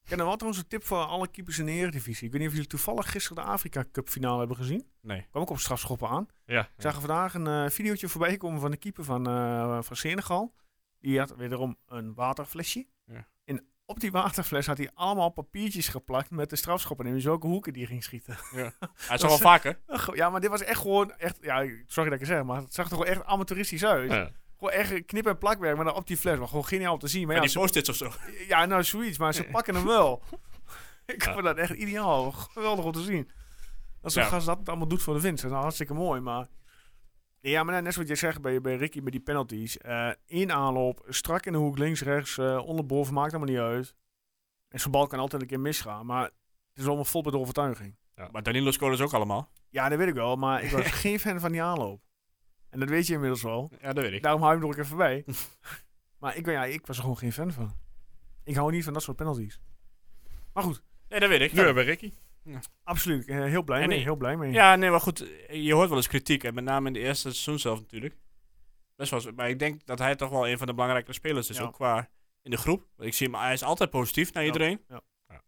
Speaker 1: Ja, dan had trouwens een tip voor alle keepers in de Eredivisie. Ik weet niet of jullie toevallig gisteren de Afrika Cup finale hebben gezien.
Speaker 2: Nee.
Speaker 1: Kwam ook op strafschoppen aan.
Speaker 2: Ja.
Speaker 1: Ik zag er vandaag een eh videootje voorbij komen van de keeper van, eh, van Senegal. Die had wederom een waterflesje.
Speaker 6: Ja.
Speaker 1: En op die waterfles had hij allemaal papiertjes geplakt met de strafschoppen. En in welke hoeken die ging schieten.
Speaker 6: Hij is al wel vaker.
Speaker 1: ja, maar dit was echt gewoon... Echt, ja, sorry dat ik het zeg, maar het zag er gewoon echt amateuristisch uit.
Speaker 2: Ja.
Speaker 1: Gewoon echt knip- en plakwerk, maar dan op die fles. Maar gewoon geniaal om te zien. Maar
Speaker 6: En
Speaker 1: ja,
Speaker 6: die post-its of zo.
Speaker 1: ze- ja, nou zoiets, maar ze pakken hem wel. ik
Speaker 2: Ja.
Speaker 1: vond dat echt ideaal. Geweldig om te zien. Als zo'n
Speaker 6: Ja.
Speaker 1: gast dat allemaal doet voor de winst, dat is nou hartstikke mooi, maar... Ja, maar net- net zoals je zegt bij, bij Ricky met die penalties. eh in aanloop, strak in de hoek, links, rechts, eh onderboven, maakt allemaal niet uit. En zo'n bal kan altijd een keer misgaan, maar het is allemaal vol met overtuiging.
Speaker 6: Maar Danilo scoorde ze ook allemaal.
Speaker 1: Ja, dat weet ik wel, maar ik was geen fan van die aanloop. En dat weet je inmiddels wel.
Speaker 6: Ja, dat weet ik.
Speaker 1: Daarom hou ik hem er ook even bij. maar ik, ben- ja, ik was er gewoon geen fan van. Ik hou niet van dat soort penalties. Maar goed,
Speaker 6: Nee, dat weet ik.
Speaker 2: Nu hebben we Ricky.
Speaker 1: absoluut. eh, heel blij
Speaker 6: En
Speaker 1: mee.
Speaker 6: ik-
Speaker 1: Heel blij mee.
Speaker 6: Ja, nee, maar goed, je hoort wel eens kritiek, en met name in de eerste seizoen zelf natuurlijk. Best wel, eens, maar ik denk dat hij toch wel een van de belangrijke spelers is,
Speaker 1: Ja.
Speaker 6: ook qua in de groep. Want ik zie hem, hij is altijd positief naar
Speaker 1: Ja,
Speaker 6: iedereen.
Speaker 1: ja.
Speaker 2: Ja.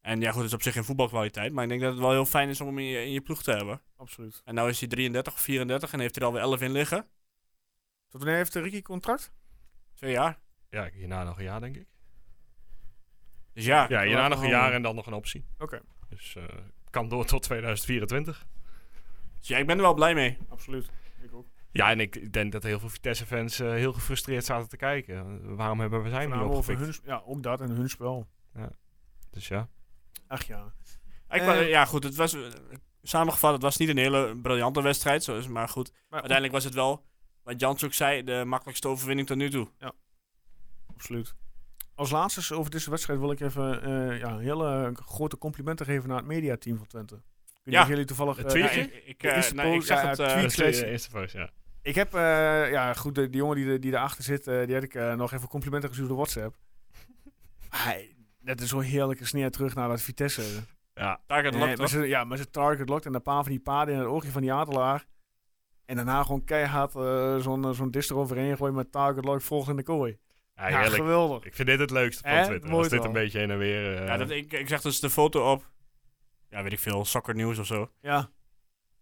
Speaker 6: En ja, goed, het is op zich geen voetbalkwaliteit, maar ik denk dat het wel heel fijn is om hem in je, in je ploeg te hebben.
Speaker 1: Absoluut.
Speaker 6: En nou is hij 33 of 34 en heeft hij er alweer 11 in liggen.
Speaker 1: Tot wanneer heeft eh, Ricky contract?
Speaker 6: Twee jaar.
Speaker 2: Ja, hierna nog een jaar, denk ik.
Speaker 6: Dus ja,
Speaker 2: Ja, hierna
Speaker 1: laten
Speaker 2: nog
Speaker 1: we
Speaker 2: een
Speaker 1: houden.
Speaker 2: jaar en dan nog een optie.
Speaker 1: Oké.
Speaker 2: Dus eh, kan door tot 2024.
Speaker 6: dus ja, ik ben er wel blij mee.
Speaker 1: Absoluut. Ik ook.
Speaker 2: Ja, en ik denk dat heel veel Vitesse-fans eh, heel gefrustreerd zaten te kijken. Waarom hebben we zijn niet
Speaker 1: Voornamelijk over
Speaker 2: opgepikt?
Speaker 1: hun, sp- ja, ook dat en hun spel.
Speaker 2: Dus ja.
Speaker 1: Ach ja.
Speaker 6: Ik,
Speaker 1: Eh,
Speaker 6: wa- ja, goed, het was, eh, samengevat, het was niet een hele briljante wedstrijd, zo is het maar goed.
Speaker 1: Maar
Speaker 6: Uiteindelijk was het wel, wat Jans ook zei, de makkelijkste overwinning tot nu toe.
Speaker 1: Absoluut. Als laatste over deze wedstrijd wil ik even eh ja, hele grote complimenten geven naar het mediateam van Twente. Ik weet
Speaker 6: Ja.
Speaker 1: niet of jullie toevallig...
Speaker 2: Het
Speaker 1: eh,
Speaker 2: tweetje?
Speaker 6: Ja, ik, ik,
Speaker 1: De
Speaker 6: eh,
Speaker 1: eerste
Speaker 6: nou, ik
Speaker 1: post-
Speaker 6: zag
Speaker 1: ja,
Speaker 6: het, eh,
Speaker 1: tweet.
Speaker 2: Dat is de
Speaker 1: slechts-
Speaker 2: eh, eerste post, ja.
Speaker 1: Ik heb, eh, ja goed, de, die jongen die, er- die erachter zit, eh, die had ik eh, nog even complimenten gestuurd op WhatsApp. Hij, dat is zo'n heerlijke sneer terug naar dat Vitesse.
Speaker 2: Ja,
Speaker 6: target
Speaker 1: Eh,
Speaker 6: locked,
Speaker 1: met
Speaker 6: toch?
Speaker 1: zijn- ja, met zijn target locked en een paar van die paarden in het oogje van die adelaar. En daarna gewoon keihard eh, zo'n eh, zo'n dist eroverheen gooien met target locked volgens in de kooi.
Speaker 2: ja,
Speaker 1: Ja,
Speaker 2: heerlijk.
Speaker 1: geweldig.
Speaker 2: Ik vind dit het leukste van
Speaker 1: Eh,
Speaker 2: Twitter.
Speaker 1: mooi
Speaker 2: Als dit
Speaker 1: wel.
Speaker 2: een beetje heen en weer... eh,
Speaker 6: ja, dat, ik, ik zag dus de foto op, ja, weet ik veel, soccer nieuws of zo.
Speaker 1: Ja,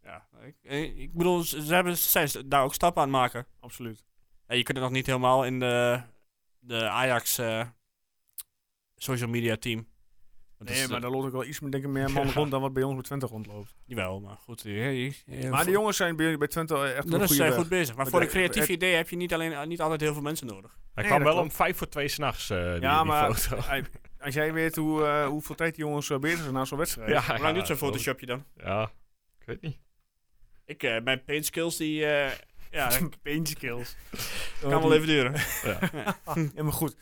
Speaker 6: Ja, ik, eh, ik bedoel, ze, ze hebben, ze zijn daar ook stappen aan het maken.
Speaker 1: absoluut.
Speaker 6: Ja, je kunt het nog niet helemaal in de, de Ajax eh, social media team. Want dat
Speaker 1: Nee,
Speaker 6: is,
Speaker 1: maar
Speaker 6: eh,
Speaker 1: daar loopt ook wel iets denk ik, meer man
Speaker 6: Ja.
Speaker 1: rond dan wat bij ons bij Twente rondloopt.
Speaker 6: Jawel, maar goed. je- je- je-
Speaker 1: Maar
Speaker 6: voor-
Speaker 1: die jongens zijn bij, bij Twente echt op een
Speaker 6: Dat
Speaker 1: goede
Speaker 6: is eh,
Speaker 1: weg.
Speaker 6: goed bezig. Maar
Speaker 1: Maar
Speaker 6: voor een
Speaker 1: de-
Speaker 6: creatief
Speaker 1: het-
Speaker 6: idee heb je niet, alleen, eh, niet altijd heel veel mensen nodig.
Speaker 2: Hij
Speaker 1: Nee,
Speaker 2: kwam
Speaker 1: dat
Speaker 2: wel om
Speaker 1: klopt.
Speaker 2: vijf voor twee s'nachts, eh die,
Speaker 1: Ja,
Speaker 2: die
Speaker 1: maar-
Speaker 2: foto.
Speaker 1: Hij- Als jij weet hoe, eh, hoeveel tijd die jongens eh, bezig zijn na zo'n wedstrijd.
Speaker 2: Ja,
Speaker 6: Hoe
Speaker 2: ja,
Speaker 6: lang doet zo'n
Speaker 2: dat-
Speaker 6: photoshopje dan?
Speaker 2: Ja, ik weet niet.
Speaker 6: Ik, eh, mijn paint skills, die... eh, ja, dat
Speaker 1: Pain skills.
Speaker 6: kan wel even duren.
Speaker 2: Ja.
Speaker 1: Ja, maar goed.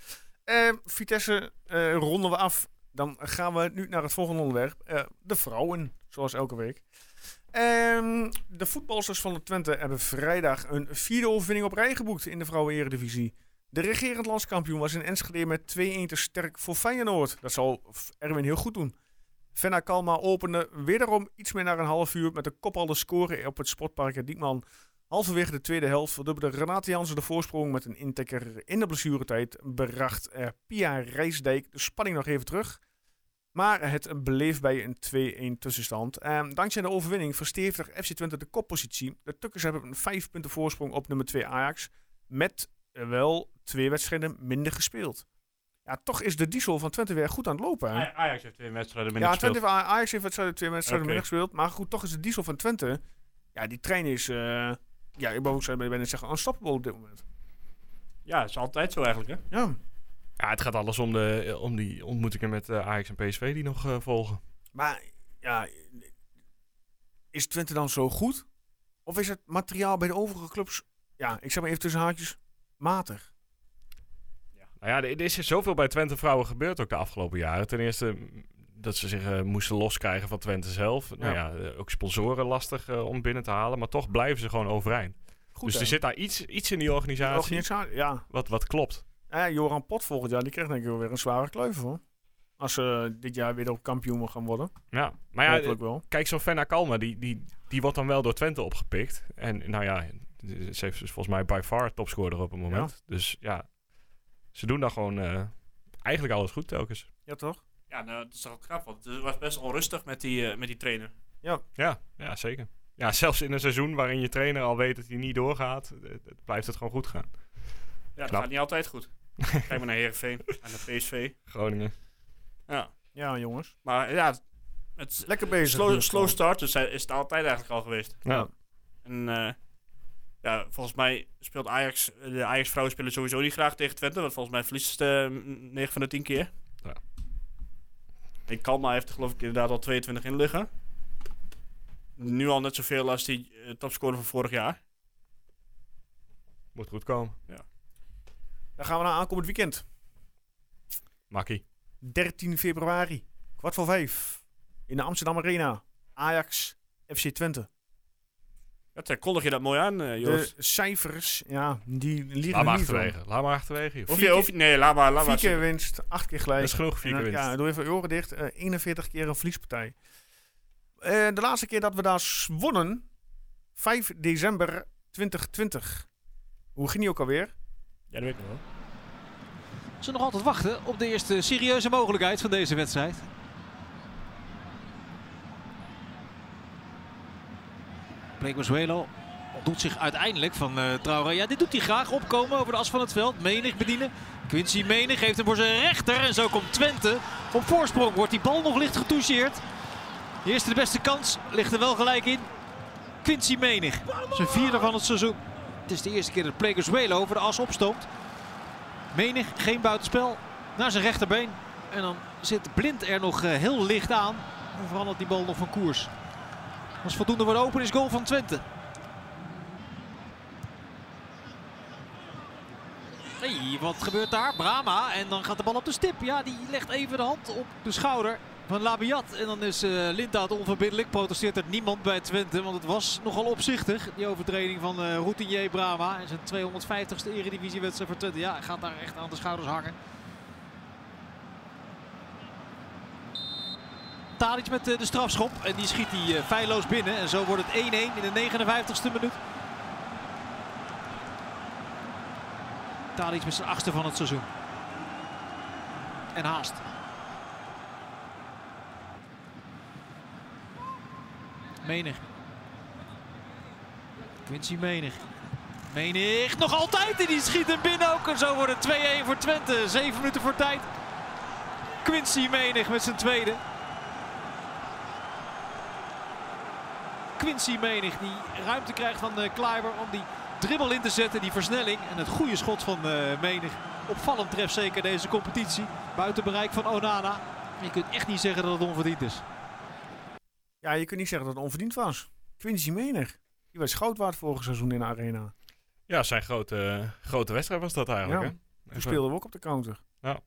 Speaker 1: Eh, Vitesse eh, ronden we af. Dan gaan we nu naar het volgende onderwerp. Eh, de vrouwen, zoals elke week. Ehm, de voetbalsters van de Twente hebben vrijdag een vierde overwinning op rij geboekt in de vrouwen-eredivisie. De regerend landskampioen was in Enschede met 2-1 te sterk voor Feyenoord. Dat zal F- Erwin heel goed doen. Venna Kalma opende wederom iets meer naar een half uur met de kop al de score op het sportpark in Diekman. Halverwege de tweede helft verdubbelde Renate Jansen de voorsprong met een intikker in de blessuretijd. Bracht eh, Pia Rijsdijk de spanning nog even terug. Maar het bleef bij een 2-1 tussenstand. Eh, dankzij de overwinning verstevigt FC Twente de koppositie. De Tukkers hebben een 5 punten voorsprong op nummer 2 Ajax. Met eh, wel twee wedstrijden minder gespeeld. Ja, toch is de diesel van Twente weer goed aan het lopen. hè?
Speaker 6: Aj- Ajax heeft twee wedstrijden minder
Speaker 1: Ja,
Speaker 6: gespeeld.
Speaker 1: Twente heeft A- Ajax heeft wedstrijden, twee wedstrijden
Speaker 6: Oké.
Speaker 1: minder gespeeld. Maar goed, toch is de diesel van Twente. Ja, die trein is. eh, ja, ik wou ook zo bijna zeggen, unstoppable op dit moment.
Speaker 6: Ja, is altijd zo eigenlijk, hè?
Speaker 1: Ja.
Speaker 2: ja, het gaat alles om, de, eh, om die ontmoetingen met eh, Ajax en PSV die nog eh, volgen.
Speaker 1: Maar ja, is Twente dan zo goed? Of is het materiaal bij de overige clubs. Ja, ik zeg maar even tussen haakjes. Matig.
Speaker 2: Nou ja, er er is zoveel bij Twente vrouwen gebeurd ook de afgelopen jaren. Ten eerste mm, dat ze zich eh, moesten loskrijgen van Twente zelf. Nou ja, eh, ook sponsoren lastig eh, om binnen te halen. Maar toch blijven ze gewoon overeind.
Speaker 1: Goed,
Speaker 2: dus
Speaker 1: hè?
Speaker 2: er zit daar iets, iets in die organisatie
Speaker 1: Organisatie, Ja.
Speaker 2: wat, wat klopt.
Speaker 1: Eh, Joran Pot volgend jaar, die krijgt denk ik wel weer een zware kluif hoor. Als ze eh, dit jaar weer op kampioen gaan worden.
Speaker 2: Ja, maar ja,
Speaker 1: Hopelijk wel.
Speaker 2: eh, kijk, zo'n Fenna Kalma, die, die, die wordt dan wel door Twente opgepikt. En nou ja, ze heeft dus volgens mij by far topscorer op het moment. Dus ja, ze doen daar gewoon eh, eigenlijk alles goed telkens.
Speaker 1: Ja, toch?
Speaker 6: Ja, nou, dat is toch ook knap, want het was best onrustig met die, eh, met die trainer.
Speaker 2: Ja, ja, zeker. Ja, zelfs in een seizoen waarin je trainer al weet dat hij niet doorgaat, eh, het- het blijft het gewoon goed gaan.
Speaker 6: Ja, dat
Speaker 2: Knap.
Speaker 6: gaat niet altijd goed. Kijk maar naar Herenveen en de PSV.
Speaker 2: Groningen.
Speaker 6: Ja,
Speaker 1: Ja, jongens.
Speaker 6: maar ja, het,
Speaker 1: Lekker bezig. in
Speaker 6: slow,
Speaker 1: ieder geval.
Speaker 6: slow start dus hij- is het altijd eigenlijk al geweest.
Speaker 2: Ja.
Speaker 6: En eh, ja, volgens mij speelt Ajax, de Ajax-vrouwen spelen sowieso niet graag tegen Twente, want volgens mij verliest ze 9 van de 10 keer.
Speaker 2: Ja.
Speaker 6: En Kalma heeft er geloof ik inderdaad al 22 in liggen. Nu al net zoveel als die eh, topscorer van vorig jaar.
Speaker 2: Moet goed komen.
Speaker 1: Dan gaan we naar aankomend weekend.
Speaker 2: Makkie.
Speaker 1: 13 februari, kwart voor vijf. In de Amsterdam Arena. Ajax, FC Twente.
Speaker 6: Ja, Ter, kondig je dat mooi aan, eh Joost?
Speaker 1: De cijfers, ja, die liggen
Speaker 2: Laat maar
Speaker 1: er niet van.
Speaker 2: achterwege. Laat maar achterwege. joh.
Speaker 6: Of
Speaker 1: vier
Speaker 6: je, of je- nee, laat maar. Laat maar
Speaker 1: Vier keer winst, acht keer gelijk.
Speaker 2: Dat is genoeg, vier
Speaker 1: En
Speaker 2: keer
Speaker 1: dan-
Speaker 2: winst.
Speaker 1: Ja, doe even je oren dicht. eh, 41 keer een verliespartij. Eh, de laatste keer dat we daar s- wonnen, 5 december 2020. Hoe ging die ook alweer?
Speaker 6: Ja, dat weet ik nog wel.
Speaker 4: Ze nog altijd wachten op de eerste serieuze mogelijkheid van deze wedstrijd. Blake Mazuelo doet zich uiteindelijk van eh Traoré. Ja, dit doet hij graag. Opkomen over de as van het veld. Menig bedienen. Quincy Menig geeft hem voor zijn rechter. En zo komt Twente op voorsprong. Wordt die bal nog licht getoucheerd. De eerste de beste kans ligt er wel gelijk in. Quincy Menig. Zijn vierde van het seizoen. Het is de eerste keer dat Blake Mazuelo over de as opstoomt. Menig, geen buitenspel, naar zijn rechterbeen. En dan zit Blind er nog eh, heel licht aan. En verandert die bal nog van koers. Als voldoende wordt open is goal van Twente. Hey, wat gebeurt daar? Brama en dan gaat de bal op de stip. Ja, die legt even de hand op de schouder van Labiat. En dan is eh Lindaat onverbiddelijk. Protesteert er niemand bij Twente, want het was nogal opzichtig. Die overtreding van eh routinier Brama en zijn 250ste eredivisiewedstrijd voor Twente. Ja, hij gaat daar echt aan de schouders hangen. Tadic met eh, de strafschop en die schiet hij eh, feilloos binnen. En zo wordt het 1-1 in de 59ste minuut. Tadic met zijn achtste van het seizoen. En haast. Menig. Quincy Menig. Menig nog altijd en die schiet hem binnen ook. En zo wordt het 2-1 voor Twente. Zeven minuten voor tijd. Quincy Menig met zijn tweede. Quincy Menig die ruimte krijgt van eh Kleiber om die dribbel in te zetten, die versnelling en het goede schot van eh, Menig. Opvallend treft zeker deze competitie. Buiten bereik van Onana. Je kunt echt niet zeggen dat het onverdiend is.
Speaker 1: Ja, je kunt niet zeggen dat het onverdiend was. Quincy Menig. Die was goud waard vorig seizoen in de Arena.
Speaker 2: Ja, zijn grote, eh, grote wedstrijd was dat eigenlijk.
Speaker 1: Ja.
Speaker 2: hè?
Speaker 1: Toen speelden we ook op de counter.
Speaker 2: Ja.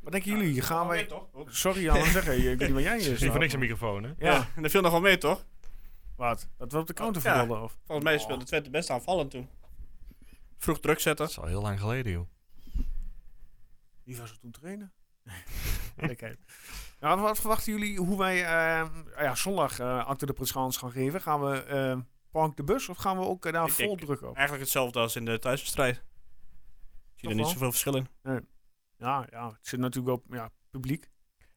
Speaker 1: Wat denken jullie? Gaan
Speaker 6: Nee,
Speaker 1: wij...
Speaker 6: toch? Oeps.
Speaker 1: Sorry, Jan, zeggen. Ik weet niet waar jij
Speaker 2: Het
Speaker 1: is.
Speaker 2: is niet voor niks een microfoon, hè?
Speaker 1: Ja,
Speaker 6: Ja, dat viel nog wel mee, toch?
Speaker 1: wat? Dat we op de counter
Speaker 6: Ja.
Speaker 1: voetbalden? Of?
Speaker 6: Volgens mij speelde Twente best aanvallend toen. Vroeg druk zetten.
Speaker 2: Dat is al heel lang geleden, joh.
Speaker 1: Wie was er toen trainen? Gekheid. Nou, wat verwachten jullie hoe wij eh, ja, zondag eh acte de présence gaan geven? Gaan we eh Park de Bus of gaan we ook eh, daar
Speaker 6: Ik
Speaker 1: vol
Speaker 6: denk-
Speaker 1: druk op?
Speaker 6: Eigenlijk hetzelfde als in de thuiswedstrijd. Ik zie
Speaker 1: Toch
Speaker 6: er niet
Speaker 1: wel?
Speaker 6: zoveel verschil in.
Speaker 1: Ja, ja, het zit natuurlijk op ja, publiek.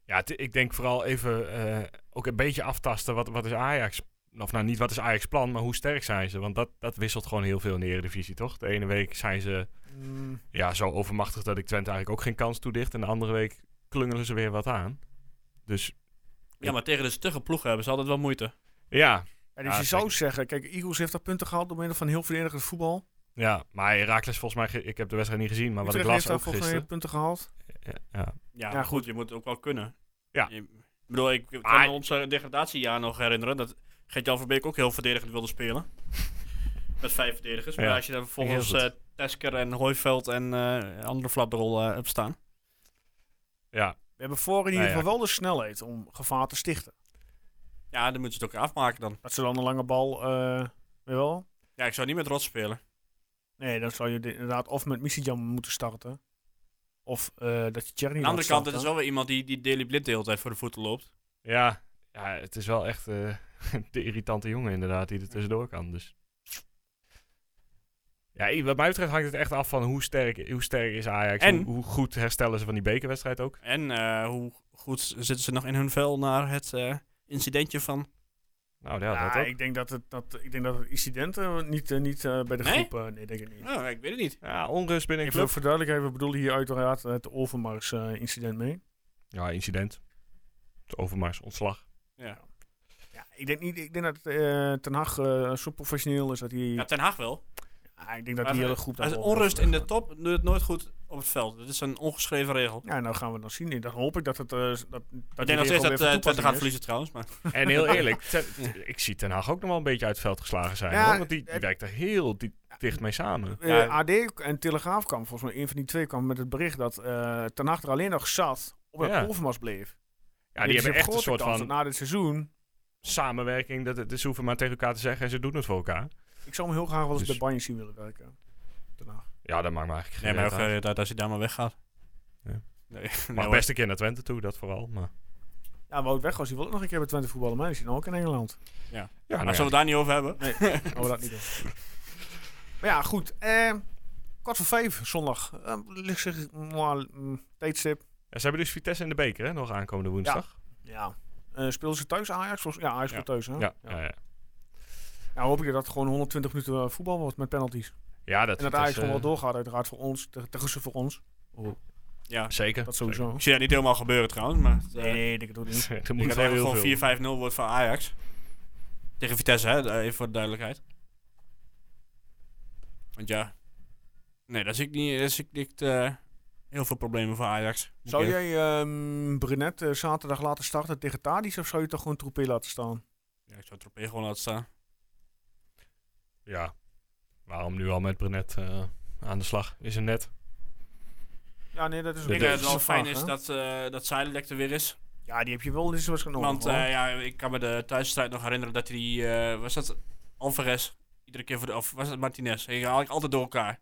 Speaker 2: Ja, het- ik denk vooral even eh, ook een beetje aftasten. Wat, wat is Ajax? Of nou, niet wat is Ajax plan, maar hoe sterk zijn ze? Want dat, dat wisselt gewoon heel veel in de Eredivisie, toch? De ene week zijn ze
Speaker 1: Mm,
Speaker 2: ja, zo overmachtig dat ik Twente eigenlijk ook geen kans toedicht. En de andere week klungelen ze weer wat aan. Dus
Speaker 6: Ja, maar tegen de stugge ploegen hebben ze altijd wel moeite.
Speaker 2: ja,
Speaker 1: ja, dus
Speaker 2: Ja,
Speaker 1: je zou
Speaker 2: zeker.
Speaker 1: zeggen, kijk, Eagles heeft daar punten gehaald door middel van heel verdedigend voetbal.
Speaker 2: ja. maar Herakles volgens mij... ge- Ik heb de wedstrijd niet gezien, maar
Speaker 1: Utrecht
Speaker 2: wat ik
Speaker 1: heeft
Speaker 2: las
Speaker 1: daar
Speaker 2: ook
Speaker 1: volgens mij
Speaker 2: gisteren...
Speaker 1: punten gehaald.
Speaker 2: Ja, ja.
Speaker 6: Ja,
Speaker 1: maar
Speaker 6: maar
Speaker 1: goed,
Speaker 6: goed, je moet het ook wel kunnen.
Speaker 2: Ja.
Speaker 6: Je- ik bedoel, ik kan
Speaker 2: Maar-
Speaker 6: me ons eh, degradatiejaar nog herinneren dat Gert-Jan van Beek ook heel verdedigend wilde spelen. Met vijf verdedigers. Maar
Speaker 2: Ja,
Speaker 6: als je dan vervolgens
Speaker 2: heel
Speaker 6: eh
Speaker 2: goed.
Speaker 6: Tesker en Hooiveld en eh andere flapdrol eh hebt staan.
Speaker 2: ja,
Speaker 1: We hebben voor in
Speaker 2: Nou
Speaker 1: ieder
Speaker 2: ja.
Speaker 1: geval wel de snelheid om gevaar te stichten.
Speaker 6: Ja, dan moeten ze het ook afmaken dan.
Speaker 1: Dat ze dan een lange bal, eh, weet je wel?
Speaker 6: Ja, ik zou niet met Rot spelen.
Speaker 1: Nee, dan zou je dit inderdaad of met Missijam moeten starten. Of eh, dat je Thierry
Speaker 6: Aan de
Speaker 1: laat
Speaker 6: andere kant, het
Speaker 1: starten.
Speaker 6: is wel weer iemand die, die Daily Blind de hele tijd voor de voeten loopt.
Speaker 2: ja, ja, het is wel echt eh, de irritante jongen inderdaad die er tussendoor kan. Dus. Ja, wat mij betreft hangt het echt af van hoe sterk, hoe sterk is Ajax.
Speaker 6: En-
Speaker 2: Hoe, hoe goed herstellen ze van die bekerwedstrijd ook.
Speaker 6: En eh, hoe goed zitten ze nog in hun vel naar het eh, incidentje van...
Speaker 2: Nou ja, dat
Speaker 1: Ja,
Speaker 2: ook.
Speaker 1: ik denk dat het, dat, ik denk dat het incident eh, niet, eh, niet eh, bij de
Speaker 6: Nee?
Speaker 1: groep... eh, nee, denk ik niet.
Speaker 6: Oh, ik weet het niet.
Speaker 2: Ja, onrust binnen een
Speaker 1: Even
Speaker 2: club.
Speaker 1: voor duidelijkheid, we bedoelen hier uiteraard het Overmars-incident mee.
Speaker 2: Ja, incident. Het Overmars, ontslag.
Speaker 6: Ja.
Speaker 1: Ja, ik, denk niet, ik denk dat eh, Ten Hag eh, zo professioneel is dat hij...
Speaker 6: ja, Ten Haag wel.
Speaker 1: Ah, ik denk dat
Speaker 6: Maar
Speaker 1: die
Speaker 6: als-
Speaker 1: hele groep... dat
Speaker 6: Als
Speaker 1: wel-
Speaker 6: onrust in de top doet het nooit goed op het veld. Dat is een ongeschreven regel.
Speaker 1: Ja, nou gaan we dan zien. Dan hoop ik dat het... eh, dat, dat
Speaker 6: ik denk nog steeds dat eh, Twente gaat verliezen trouwens. Maar
Speaker 2: En heel eerlijk, Ten- ik zie Ten Haag ook nog wel een beetje uit het veld geslagen zijn.
Speaker 1: Ja,
Speaker 2: hoor, want die, die
Speaker 1: het-
Speaker 2: werkt er heel di- dicht mee samen.
Speaker 1: Eh,
Speaker 6: Ja.
Speaker 1: AD en Telegraaf kwam, volgens mij, een van die twee kwam met het bericht dat eh Ten Hag er alleen nog zat omdat
Speaker 2: Ja.
Speaker 1: Overmars bleef.
Speaker 2: Ja, die
Speaker 1: Dus je
Speaker 2: hebben
Speaker 1: hebt
Speaker 2: echt een
Speaker 1: grote
Speaker 2: soort
Speaker 1: kans
Speaker 2: van
Speaker 1: dat Na dit seizoen,
Speaker 2: samenwerking. Dat, het- dus ze hoeven maar tegen elkaar te zeggen en ze doen het voor elkaar.
Speaker 1: ik zou hem heel graag wel eens
Speaker 2: Dus-
Speaker 1: bij Bayern zien willen werken. Ten Hag.
Speaker 2: Ja, dat maakt me eigenlijk geen
Speaker 6: nee, maar ook,
Speaker 2: reet uit.
Speaker 6: eh, dat als hij daar maar weggaat.
Speaker 2: Ja.
Speaker 6: Nee,
Speaker 2: Mag
Speaker 6: nee,
Speaker 2: best een keer naar Twente toe, dat vooral. Maar,
Speaker 1: Ja, Wout Weghorst, die wil ook nog een keer bij Twente voetballen, maar die zit nou ook in Engeland.
Speaker 2: ja,
Speaker 6: hoor.
Speaker 2: nou
Speaker 6: Maar
Speaker 2: ja,
Speaker 6: zullen we het daar niet over hebben?
Speaker 1: Gaan we dat niet doen. Maar ja, goed. Eh, kwart voor vijf, zondag. Eh, ligt zich, mwah, mm, tijdstip.
Speaker 2: Ja, ze hebben dus Vitesse in de beker, hè, nog aankomende woensdag.
Speaker 1: Ja. Eh speelden ze thuis Ajax? Volgens- Ja, Ajax speelt thuis. Hè?
Speaker 2: Ja, ja. ja, ja.
Speaker 1: Nou, hoop ik dat het gewoon 120 minuten eh, voetbal wordt met penalties.
Speaker 2: dat,
Speaker 1: En dat
Speaker 2: dat
Speaker 1: Ajax
Speaker 2: is,
Speaker 1: gewoon wel
Speaker 2: eh,
Speaker 1: doorgaat, uiteraard voor ons. te- Tegen ze voor ons.
Speaker 6: Ja.
Speaker 2: Zeker.
Speaker 1: Dat sowieso.
Speaker 6: Ik zie dat niet helemaal gebeuren trouwens. Maar het, eh,
Speaker 1: Nee, nee, ik doe het niet.
Speaker 2: Zeker. Er
Speaker 6: ik
Speaker 2: moet
Speaker 6: had
Speaker 2: wel
Speaker 6: eigenlijk
Speaker 2: heel veel.
Speaker 6: gewoon 4-5-0 wordt van Ajax. Tegen Vitesse, hè, eh, even voor de duidelijkheid. Want ja. Nee, daar zie ik niet, daar zie ik niet eh, heel veel problemen voor Ajax. Moet
Speaker 1: Zou
Speaker 6: ik
Speaker 1: jij ehm Brenet eh, zaterdag laten starten tegen Tadis of zou je toch gewoon Troepé laten staan?
Speaker 6: Ja, ik zou Tropee gewoon laten staan.
Speaker 2: Ja. Waarom nu al met Brenet eh, aan de slag? Is een net.
Speaker 1: Ja, nee, dat is
Speaker 2: Ik
Speaker 6: Ik
Speaker 2: denk
Speaker 6: denk dat
Speaker 2: dat
Speaker 6: het wel
Speaker 1: een vraag,
Speaker 6: fijn is
Speaker 1: hè?
Speaker 6: dat, eh dat Zijdelijk er weer is.
Speaker 1: Ja, die heb je wel eens wat genomen.
Speaker 6: Want eh, ja, ik kan me de thuisstrijd nog herinneren dat hij die... eh, was dat Alvarez? Iedere keer voor de... Of was dat Martinez? Ik haal ik altijd door elkaar.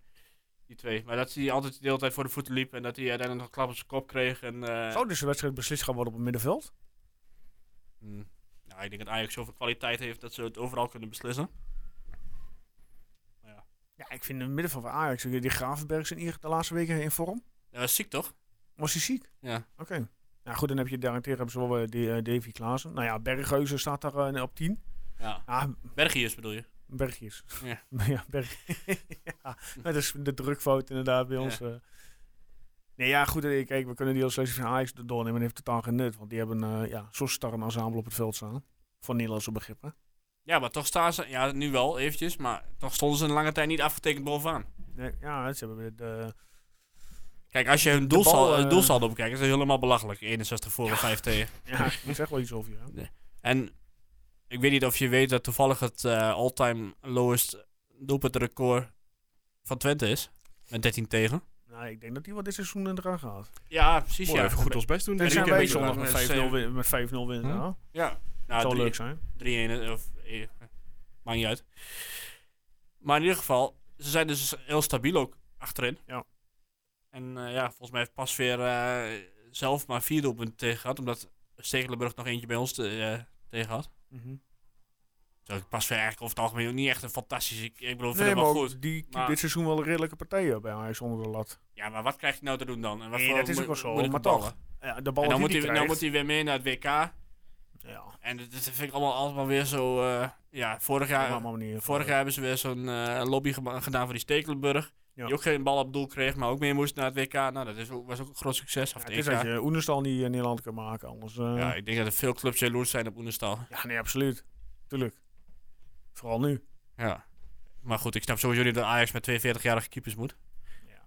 Speaker 6: Die twee. Maar dat hij altijd de hele tijd voor de voeten liep. En dat hij uiteindelijk nog een klap op zijn kop kreeg. En, eh,
Speaker 1: zou dus de wedstrijd beslist gaan worden op het middenveld?
Speaker 6: hm. nou, ik denk dat Ajax zoveel kwaliteit heeft dat ze het overal kunnen beslissen.
Speaker 1: Ja, ik vind het middenveld van Ajax, die Gravenberg zijn hier de laatste weken in vorm.
Speaker 6: Dat was ziek, toch?
Speaker 1: Was hij ziek?
Speaker 6: Ja.
Speaker 1: Oké. Ja, goed, dan heb je daarentegen hebben ze wel eh, die, eh, Davy Klaassen. Nou ja, Berghuizen staat daar eh, op 10.
Speaker 6: ja.
Speaker 1: Ja,
Speaker 6: Bergiers bedoel je?
Speaker 1: Bergjes.
Speaker 6: Ja.
Speaker 1: ja, berg. ja, dat is de drukfout inderdaad bij
Speaker 6: Ja.
Speaker 1: ons. eh. Nee, ja, goed. eh, Kijk, we kunnen die als selectie van Ajax doornemen. Dat heeft totaal geen nut. Want die hebben eh, ja, zo'n star een ensemble op het veld staan. Voor Nederlandse begrippen.
Speaker 6: Ja, maar toch staan ze... Ja, nu wel, eventjes. Maar toch stonden ze een lange tijd niet afgetekend bovenaan.
Speaker 1: Nee, ja, ze hebben de...
Speaker 6: Kijk, als je hun doelsal,
Speaker 1: bal,
Speaker 6: eh,
Speaker 1: eh,
Speaker 6: doelsaldo bekijkt, is het helemaal belachelijk. 61 voor en 5 tegen.
Speaker 1: ja, ik zeg wel iets over je. hè.
Speaker 6: En ik weet niet of je weet dat toevallig het eh, all-time lowest doelpuntrecord van Twente is. Met 13 tegen.
Speaker 1: Nou, ik denk dat die wel dit seizoen in de gang gaat.
Speaker 6: Ja, precies.
Speaker 2: Mooi,
Speaker 6: ja.
Speaker 2: even goed ons best doen.
Speaker 1: Dan
Speaker 2: dit
Speaker 1: zijn
Speaker 6: denk
Speaker 1: wij
Speaker 2: weekend.
Speaker 6: dat
Speaker 1: zondag
Speaker 6: we
Speaker 1: met 5-0
Speaker 6: met zeven-
Speaker 1: winnen. Met 5-0 winnen
Speaker 2: Hm?
Speaker 1: ja.
Speaker 6: Ja,
Speaker 1: Dat
Speaker 6: nou,
Speaker 1: zou
Speaker 6: drie-
Speaker 1: leuk zijn.
Speaker 6: 3-1. Of, eh, maakt niet uit. Maar in ieder geval, ze zijn dus heel stabiel ook achterin.
Speaker 1: Ja.
Speaker 6: En eh, ja, volgens mij heeft Pasveer eh, zelf maar vier doelpunten tegen gehad. Omdat Stekelenburg nog eentje bij ons te- eh, tegen had.
Speaker 1: Mhm.
Speaker 6: Terwijl ik Pasveer eigenlijk over het algemeen ook niet echt een fantastische... Ik, ik bedoel, ik
Speaker 1: Nee,
Speaker 6: vind hem
Speaker 1: maar
Speaker 6: wel
Speaker 1: ook
Speaker 6: goed.
Speaker 1: die keept
Speaker 6: Maar-
Speaker 1: dit seizoen wel redelijke partijen bij Ajax onder de lat.
Speaker 6: Ja, maar wat krijgt hij nou te doen dan? En wat
Speaker 1: Nee,
Speaker 6: voor
Speaker 1: dat is
Speaker 6: mo-
Speaker 1: ook wel zo,
Speaker 6: moeilijke
Speaker 1: maar toch.
Speaker 6: ballen?
Speaker 1: Ja, de bal die
Speaker 6: En dan moet,
Speaker 1: die
Speaker 6: hij, dan moet
Speaker 1: krijgt.
Speaker 6: hij weer mee naar het WK.
Speaker 1: Ja,
Speaker 6: En dat dat vind ik allemaal allemaal weer zo... eh, ja, vorig
Speaker 1: op een
Speaker 6: jaar,
Speaker 1: andere manier.
Speaker 6: vorig jaar hebben ze weer zo'n eh, lobby gema- gedaan voor die Stekelenburg.
Speaker 1: Ja.
Speaker 6: Die ook geen bal op doel kreeg, maar ook mee moest naar het WK. Nou, dat is ook, was ook een groot succes. Of
Speaker 1: Ja,
Speaker 6: het
Speaker 1: het is
Speaker 6: EK.
Speaker 1: dat je Oenestal niet in Nederland kan maken, anders... eh,
Speaker 6: Ja,
Speaker 1: ja.
Speaker 6: ik denk dat er veel clubs jaloers zijn op Oenestal.
Speaker 1: nee, absoluut. Tuurlijk. Vooral nu.
Speaker 6: Ja. Maar goed, ik snap sowieso niet dat Ajax met 42-jarige keepers moet.
Speaker 1: Ja.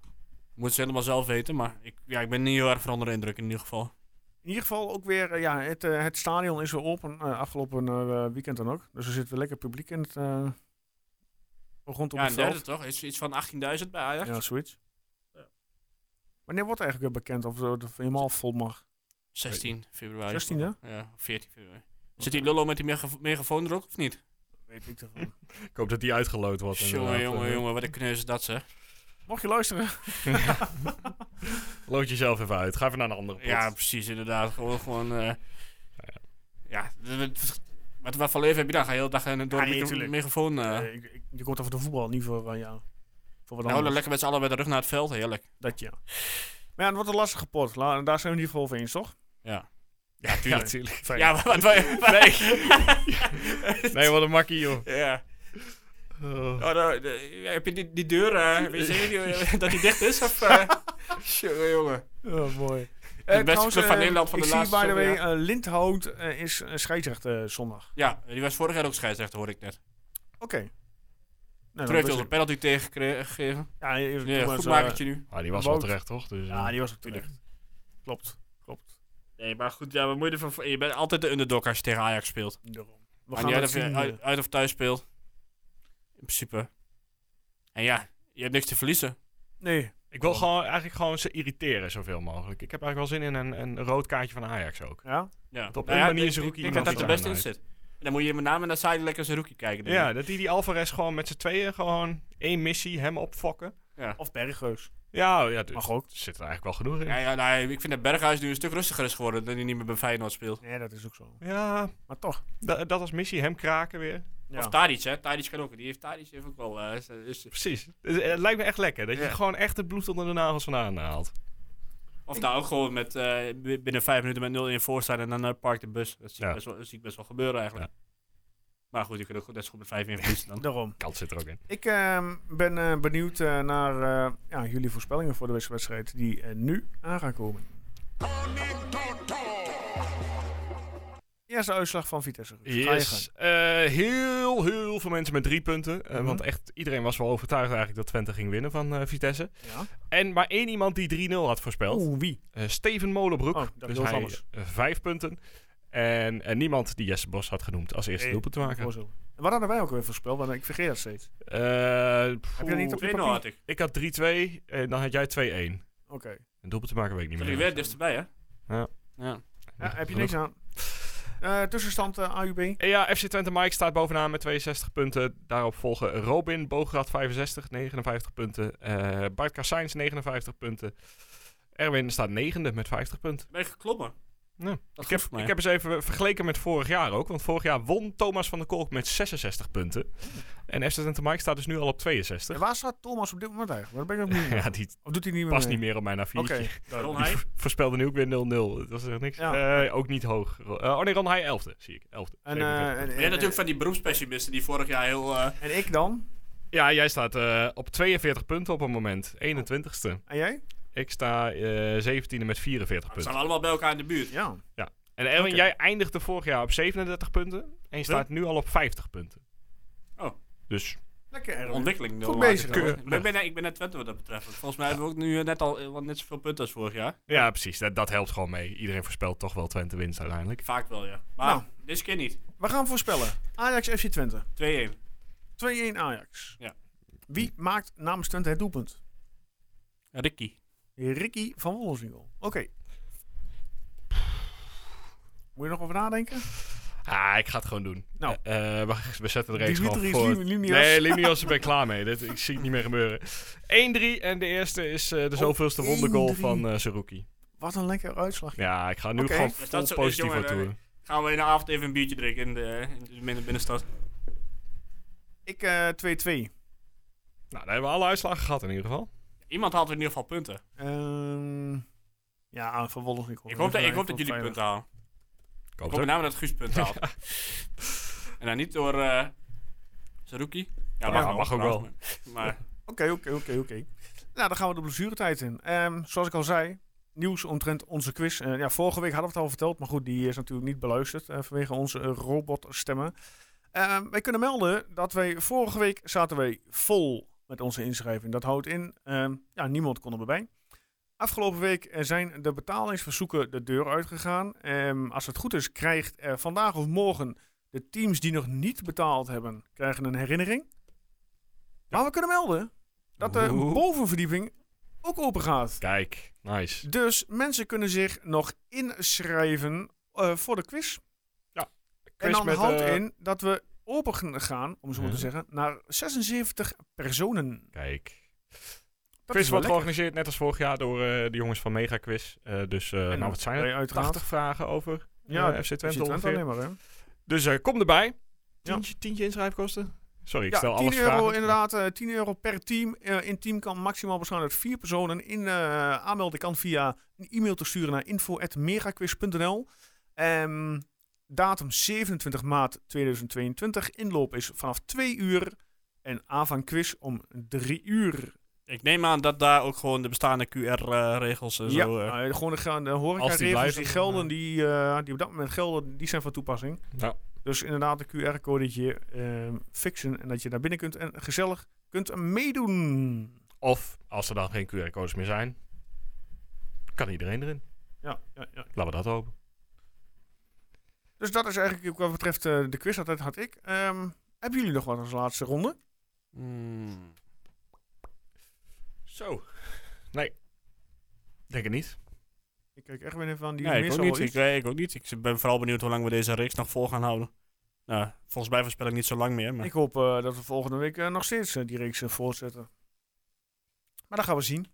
Speaker 6: Moeten ze helemaal zelf weten, maar ik, ja, ik ben niet heel erg van onder de indruk in ieder geval.
Speaker 1: In ieder geval ook weer, eh, ja, het, eh, het stadion is weer open, eh, afgelopen eh, weekend dan ook. Dus er zit weer lekker publiek in het, eh, rondom
Speaker 6: ja,
Speaker 1: het
Speaker 6: een derde
Speaker 1: veld.
Speaker 6: toch? Iets, iets van 18.000 bij Ajax.
Speaker 1: Ja, zoiets. Wanneer wordt eigenlijk weer bekend of eh, het of het helemaal vol mag?
Speaker 6: 16 februari.
Speaker 1: 16, hè?
Speaker 6: Ja, 14 februari. Zit die lullo met die megafo- megafoon er ook, of niet?
Speaker 1: Weet ik ervan.
Speaker 2: Ik hoop dat die uitgeloot wordt.
Speaker 6: Jongen,
Speaker 2: inderdaad.
Speaker 6: jongen,
Speaker 2: Eh,
Speaker 6: jongen, wat een kneus is dat, zeg.
Speaker 1: Mocht je luisteren?
Speaker 2: Loot jezelf even uit. Ga even naar een andere pot.
Speaker 6: Ja, precies, inderdaad. Gewoon, gewoon... eh, ja, d- d- wat, wat voor leven heb je dan? Ga je de hele dag eh, door
Speaker 1: Ja,
Speaker 6: een
Speaker 1: nee,
Speaker 6: micro-
Speaker 1: tuurlijk.
Speaker 6: megafoon... eh,
Speaker 1: Eh, ik, ik, je komt over de voetbal, niet voor, eh, ja, Voor wat
Speaker 6: Nou, dan
Speaker 1: anders.
Speaker 6: lekker met z'n allen met de rug naar het veld. Heerlijk.
Speaker 1: Dat ja. Maar ja, het wordt een lastige pot. La- daar zijn we in ieder geval over eens, toch?
Speaker 6: Ja.
Speaker 2: Ja,
Speaker 1: tuurlijk.
Speaker 2: natuurlijk.
Speaker 1: Fijn.
Speaker 6: Ja, maar wat wij...
Speaker 2: Nee, wat een makkie, joh.
Speaker 6: Ja. Oh, nou, de- ja, heb je die, die deur, eh, weet je zeker die- eh, dat die dicht is? Of, eh? Tjonge, jongen.
Speaker 1: Oh, mooi. De
Speaker 6: beste club van Nederland van
Speaker 1: ik
Speaker 6: de
Speaker 1: zie,
Speaker 6: laatste
Speaker 1: by the way,
Speaker 6: zoveel
Speaker 1: eh, Lindhout eh, is eh, scheidsrechter zondag.
Speaker 6: Ja, die was vorig jaar ook scheidsrechter, hoor ik net.
Speaker 1: Oké. Nou,
Speaker 6: Terug heeft
Speaker 1: dat
Speaker 6: ons
Speaker 1: was-
Speaker 6: een penalty tegengegeven.
Speaker 1: Ja, even,
Speaker 6: Ja, eh, goed makertje nu.
Speaker 2: Maar Ah, die was wel
Speaker 1: Wout.
Speaker 2: terecht, toch? Dus, eh,
Speaker 1: ja, die was op terecht. Klopt. Klopt.
Speaker 6: Nee, maar goed, ja, wat moet je, ervan, v- je bent altijd de underdog als je tegen Ajax speelt.
Speaker 1: Daarom. We
Speaker 6: Maar
Speaker 1: gaan
Speaker 6: niet
Speaker 1: dat
Speaker 6: uit, of je
Speaker 1: zien.
Speaker 6: uit,
Speaker 1: eh.
Speaker 6: uit of thuis speelt. In principe. En ja, je hebt niks te verliezen.
Speaker 1: Nee.
Speaker 2: Ik wil gewoon, eigenlijk gewoon ze irriteren zoveel mogelijk. Ik heb eigenlijk wel zin in een, een rood kaartje van Ajax ook.
Speaker 1: Ja?
Speaker 6: Ja.
Speaker 2: op
Speaker 6: Nou
Speaker 2: één
Speaker 6: ja,
Speaker 2: manier
Speaker 6: ik-
Speaker 2: is Rookie
Speaker 6: Ik denk dat
Speaker 2: nog
Speaker 6: dat er
Speaker 2: iets
Speaker 6: best in
Speaker 2: aan
Speaker 6: zit. En dan moet je met name naar Zuidelijk en zijn Rookie kijken. denk
Speaker 2: Ja,
Speaker 6: ik.
Speaker 2: dat die, die Alvarez gewoon met z'n tweeën gewoon één missie hem opfokken.
Speaker 1: Of Bergheus.
Speaker 2: Ja, oh ja d-
Speaker 1: Mag ook.
Speaker 2: zit er eigenlijk wel genoeg in.
Speaker 6: Ja,
Speaker 2: Ja,
Speaker 6: ja nou, ik vind dat Berghuis nu een stuk rustiger is geworden. Dat hij niet meer bij Feyenoord speelt.
Speaker 1: Nee, dat is ook zo. Maar toch.
Speaker 2: da- dat als missie, hem kraken weer.
Speaker 1: Ja.
Speaker 6: Of Tadic, hè. Tadic kan ook. Die heeft Tadic heeft ook wel... eh, is- is-
Speaker 2: Precies. Dus, eh, het lijkt me echt lekker dat je
Speaker 6: Ja.
Speaker 2: gewoon echt het bloed onder de nagels vandaan eh, haalt.
Speaker 6: of daar ook gewoon met, eh, b- binnen vijf minuten met 0-1 voor staan en dan eh, parkt de bus. Dat zie, ik
Speaker 2: Ja.
Speaker 6: best wel, dat zie ik best wel gebeuren eigenlijk. Maar goed, je kunt ook net zo goed met 5-1 verliezen dan.
Speaker 1: Daarom.
Speaker 2: Kant zit er ook in.
Speaker 1: Ik ehm, ben eh, benieuwd eh, naar eh, ja, jullie voorspellingen voor de wedstrijd die eh, nu aan gaan komen. Eerste uitslag van Vitesse. Ruud. Ga je gang.
Speaker 2: Yes. Eh, heel, heel veel mensen met drie punten. Eh,
Speaker 1: Mhm.
Speaker 2: Want echt iedereen was wel overtuigd eigenlijk dat Twente ging winnen van eh, Vitesse.
Speaker 1: Ja?
Speaker 2: En maar één iemand die 3-0 had voorspeld.
Speaker 1: Oeh, wie?
Speaker 2: Eh, Steven Molenbroek.
Speaker 1: Oh, dat
Speaker 2: dus
Speaker 1: is
Speaker 2: hij
Speaker 1: anders.
Speaker 2: eh, vijf punten. En, en niemand die Jesse Bos had genoemd als eerste
Speaker 1: Nee,
Speaker 2: doelpunt te maken.
Speaker 1: voorzorg. En Wat hadden wij ook weer voorspeld? Want ik vergeet dat steeds.
Speaker 2: Eh,
Speaker 1: Heb je dat niet op je
Speaker 6: 2-0
Speaker 1: papier?
Speaker 6: had ik.
Speaker 2: Ik had 3-2 en dan had jij 2-1.
Speaker 1: Oké.
Speaker 2: Een doelpunt te maken weet ik niet
Speaker 6: Dat ik
Speaker 2: meer.
Speaker 6: weer dichterbij, hè?
Speaker 2: Ja.
Speaker 6: ja.
Speaker 1: Ja, heb je niks aan? Eh, tussenstand eh, AUB.
Speaker 2: Eh, Ja, FC Twente Mike staat bovenaan met 62 punten. Daarop volgen Robin Bograd 65, 59 punten. Eh Bart Kassijns 59 punten. Erwin staat negende met 50 punten.
Speaker 6: Ben je geklommen?
Speaker 2: Ja.
Speaker 6: Dat
Speaker 2: Ik heb,
Speaker 6: mij.
Speaker 2: ik heb eens even vergeleken met vorig jaar ook. Want vorig jaar won Thomas van der Kolk met 66 punten. En FC Twente Mike staat dus nu al op 62.
Speaker 1: En waar staat Thomas op dit moment eigenlijk? Waar ben ik ook niet
Speaker 2: Ja, die
Speaker 1: Of doet hij niet meer
Speaker 2: past
Speaker 1: mee?
Speaker 2: niet meer op mijn A4'tje.
Speaker 1: Oké.
Speaker 6: Ron
Speaker 2: Die
Speaker 6: Heij?
Speaker 2: vo- voorspelde nu ook weer 0-0. Dat was echt niks.
Speaker 1: Ja.
Speaker 2: Eh, ook niet hoog. Ro- eh, oh nee, Ron Heij 11e, zie ik. 11e.
Speaker 1: En, eh,
Speaker 2: 47.
Speaker 1: en, en,
Speaker 6: Ben jij natuurlijk van die beroepspessimisten die vorig jaar heel... eh,
Speaker 1: en ik dan?
Speaker 2: ja, jij staat eh, op 42 punten op het moment. 21ste.
Speaker 1: En jij?
Speaker 2: Ik sta eh 17e met 44
Speaker 6: we
Speaker 2: punten.
Speaker 6: staan allemaal bij elkaar in de buurt.
Speaker 1: Ja.
Speaker 2: En Erwin,
Speaker 1: Oké.
Speaker 2: jij eindigde vorig jaar op 37 punten. En je staat nu al op 50 punten.
Speaker 6: Oh.
Speaker 2: Dus
Speaker 1: Lekker. Erwin.
Speaker 6: Ontwikkeling. wil
Speaker 1: Goed
Speaker 6: maken
Speaker 1: bezig,
Speaker 6: trouwens.
Speaker 2: hoor.
Speaker 6: Maar Ik ben, ik ben net Twente wat dat betreft. Want Volgens mij hebben we ook nu eh, net al eh, wat net zoveel punten als vorig jaar.
Speaker 2: ja, precies. Dat, dat helpt gewoon mee. Iedereen voorspelt toch wel Twente winst uiteindelijk.
Speaker 6: Vaak wel, ja. Maar
Speaker 1: Nou.
Speaker 6: deze keer niet. 2-1.
Speaker 1: We gaan voorspellen. Ajax FC Twente. 2-1 Ajax.
Speaker 6: Ja.
Speaker 1: Wie maakt namens Twente het doelpunt?
Speaker 6: Ricky.
Speaker 1: Ricky van Wollensingel. Oké. Moet je nog over nadenken?
Speaker 2: Ah, ik ga het gewoon doen.
Speaker 1: Nou.
Speaker 2: Eh, eh, we, we zetten de reeks
Speaker 1: Die
Speaker 2: gewoon
Speaker 1: Dimitri's
Speaker 2: voor.
Speaker 1: Lim- Limnios.
Speaker 2: Nee, Linios, ik ben klaar mee. Dit, ik zie het niet meer gebeuren. 1-3 en de eerste is
Speaker 1: Oh,
Speaker 2: eh, de zoveelste ronde goal
Speaker 1: 1-3.
Speaker 2: van eh Saruki.
Speaker 1: Wat een lekker uitslag.
Speaker 2: Ja, ik ga nu
Speaker 1: Oké.
Speaker 2: gewoon
Speaker 1: Is
Speaker 6: Dus dat
Speaker 2: vol
Speaker 6: zo- is,
Speaker 2: positief
Speaker 6: jongen,
Speaker 2: aan toe.
Speaker 6: Gaan we in de avond even een biertje drinken in de, in de binnen- binnenstad.
Speaker 1: Ik eh, 2-2.
Speaker 2: Nou, daar hebben we alle uitslagen gehad in ieder geval.
Speaker 6: Iemand haalt in ieder geval punten.
Speaker 1: Ehm, ja, van Wollensingel.
Speaker 6: Ik hoop, dat, ik hoop dat
Speaker 1: Veilig.
Speaker 6: jullie punten halen.
Speaker 2: Ik
Speaker 6: Ik
Speaker 2: hoop
Speaker 6: hoop met
Speaker 2: het.
Speaker 6: name dat Guus punten haalt. En dan niet door eh Saruki. Ja,
Speaker 2: Ja, mag ook wel.
Speaker 6: Maar
Speaker 1: Oké, oké, oké, oké. Nou, dan gaan we de blessuretijd in. Ehm, zoals ik al zei, nieuws omtrent onze quiz. Eh, ja, vorige week hadden we het al verteld, maar goed, die is natuurlijk niet beluisterd eh, vanwege onze eh, robotstemmen. Ehm, wij kunnen melden dat wij vorige week zaten wij vol met onze inschrijving. Dat houdt in, ehm, ja, niemand kon er bij. Afgelopen week eh, zijn de betalingsverzoeken de deur uitgegaan. Ehm, als het goed is, krijgt eh, vandaag of morgen de teams die nog niet betaald hebben, krijgen een herinnering. Maar we kunnen melden dat de
Speaker 2: Oeh.
Speaker 1: bovenverdieping ook open gaat.
Speaker 2: Kijk, nice.
Speaker 1: Dus mensen kunnen zich nog inschrijven eh, voor de quiz. en dan houdt
Speaker 2: eh, Mhm.
Speaker 1: in dat we open gaan- gaan, om het zo maar te
Speaker 2: Ja.
Speaker 1: zeggen, naar 76 personen.
Speaker 2: Kijk.
Speaker 1: Dat
Speaker 2: quiz
Speaker 1: is wel
Speaker 2: wordt
Speaker 1: lekker.
Speaker 2: georganiseerd, net als vorig jaar, door eh, de jongens van Mega Quiz. Eh, dus, eh, nou, wat zijn
Speaker 1: wij
Speaker 2: er?
Speaker 1: uiteraard.
Speaker 2: 80 vragen over
Speaker 1: Ja,
Speaker 2: ja, FC Twente
Speaker 1: Twente
Speaker 2: ongeveer.
Speaker 1: alleen maar, hè?
Speaker 2: Dus eh, kom erbij.
Speaker 1: Ja.
Speaker 2: Tientje, tientje inschrijfkosten. Sorry, ik
Speaker 1: Ja,
Speaker 2: stel
Speaker 1: 10
Speaker 2: alles
Speaker 1: euro
Speaker 2: vragen.
Speaker 1: inderdaad, eh 10 euro per team. Eh, in team kan maximaal bestaan uit vier personen. In, eh, aanmelden kan via een e-mail te sturen naar info.megaquiz.nl. Ehm, datum 27 maart 2022. Inloop is vanaf 2 uur en aanvang quiz om 3 uur.
Speaker 6: Ik neem aan dat daar ook gewoon de bestaande QR-regels en
Speaker 1: ja,
Speaker 6: zo... eh,
Speaker 1: eh, gewoon de, ge- de
Speaker 2: Als die
Speaker 1: horecaregels
Speaker 2: blijven,
Speaker 1: die gelden,
Speaker 2: eh.
Speaker 1: die, eh, die op dat moment gelden, die zijn van toepassing.
Speaker 2: Ja.
Speaker 1: Dus inderdaad, de QR-code dat je ehm, fixen en dat je naar binnen kunt en gezellig kunt meedoen.
Speaker 2: Of als er dan geen QR-codes meer zijn, kan iedereen erin.
Speaker 1: Ja, ja, ja.
Speaker 2: Laten we dat hopen.
Speaker 1: Dus dat is eigenlijk ook wat betreft eh, de quiz. Dat had ik. Ehm, hebben jullie nog wat als laatste ronde?
Speaker 6: hmm.
Speaker 2: Zo. Nee. Denk het niet.
Speaker 1: Ik kijk echt weer even aan die
Speaker 6: Nee, ik ook,
Speaker 1: meestal
Speaker 6: niet.
Speaker 1: wel
Speaker 6: Ik,
Speaker 1: iets.
Speaker 6: nee, ik ook niet. Ik ben vooral benieuwd hoe lang we deze reeks nog vol gaan houden. Nou, volgens mij voorspel ik niet zo lang meer. Maar...
Speaker 1: Ik hoop eh, dat we volgende week eh, nog steeds eh, die reeks eh, voortzetten. Maar dat gaan we zien.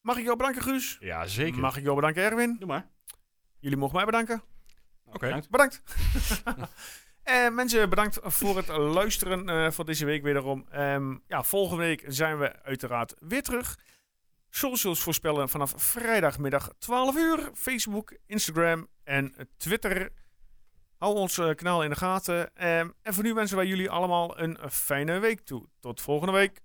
Speaker 1: Mag ik jou bedanken, Guus?
Speaker 2: Ja, zeker.
Speaker 1: Mag ik jou bedanken, Erwin?
Speaker 6: Doe maar.
Speaker 1: Jullie mogen mij bedanken.
Speaker 2: Oké.
Speaker 6: bedankt.
Speaker 1: Bedankt. Eh, mensen, bedankt voor het luisteren eh, van deze week wederom. Ehm, ja, volgende week zijn we uiteraard weer terug. Socials voorspellen vanaf vrijdagmiddag 12 uur. Facebook, Instagram en Twitter. Hou ons eh, kanaal in de gaten. Ehm, en voor nu wensen wij jullie allemaal een fijne week toe. Tot volgende week.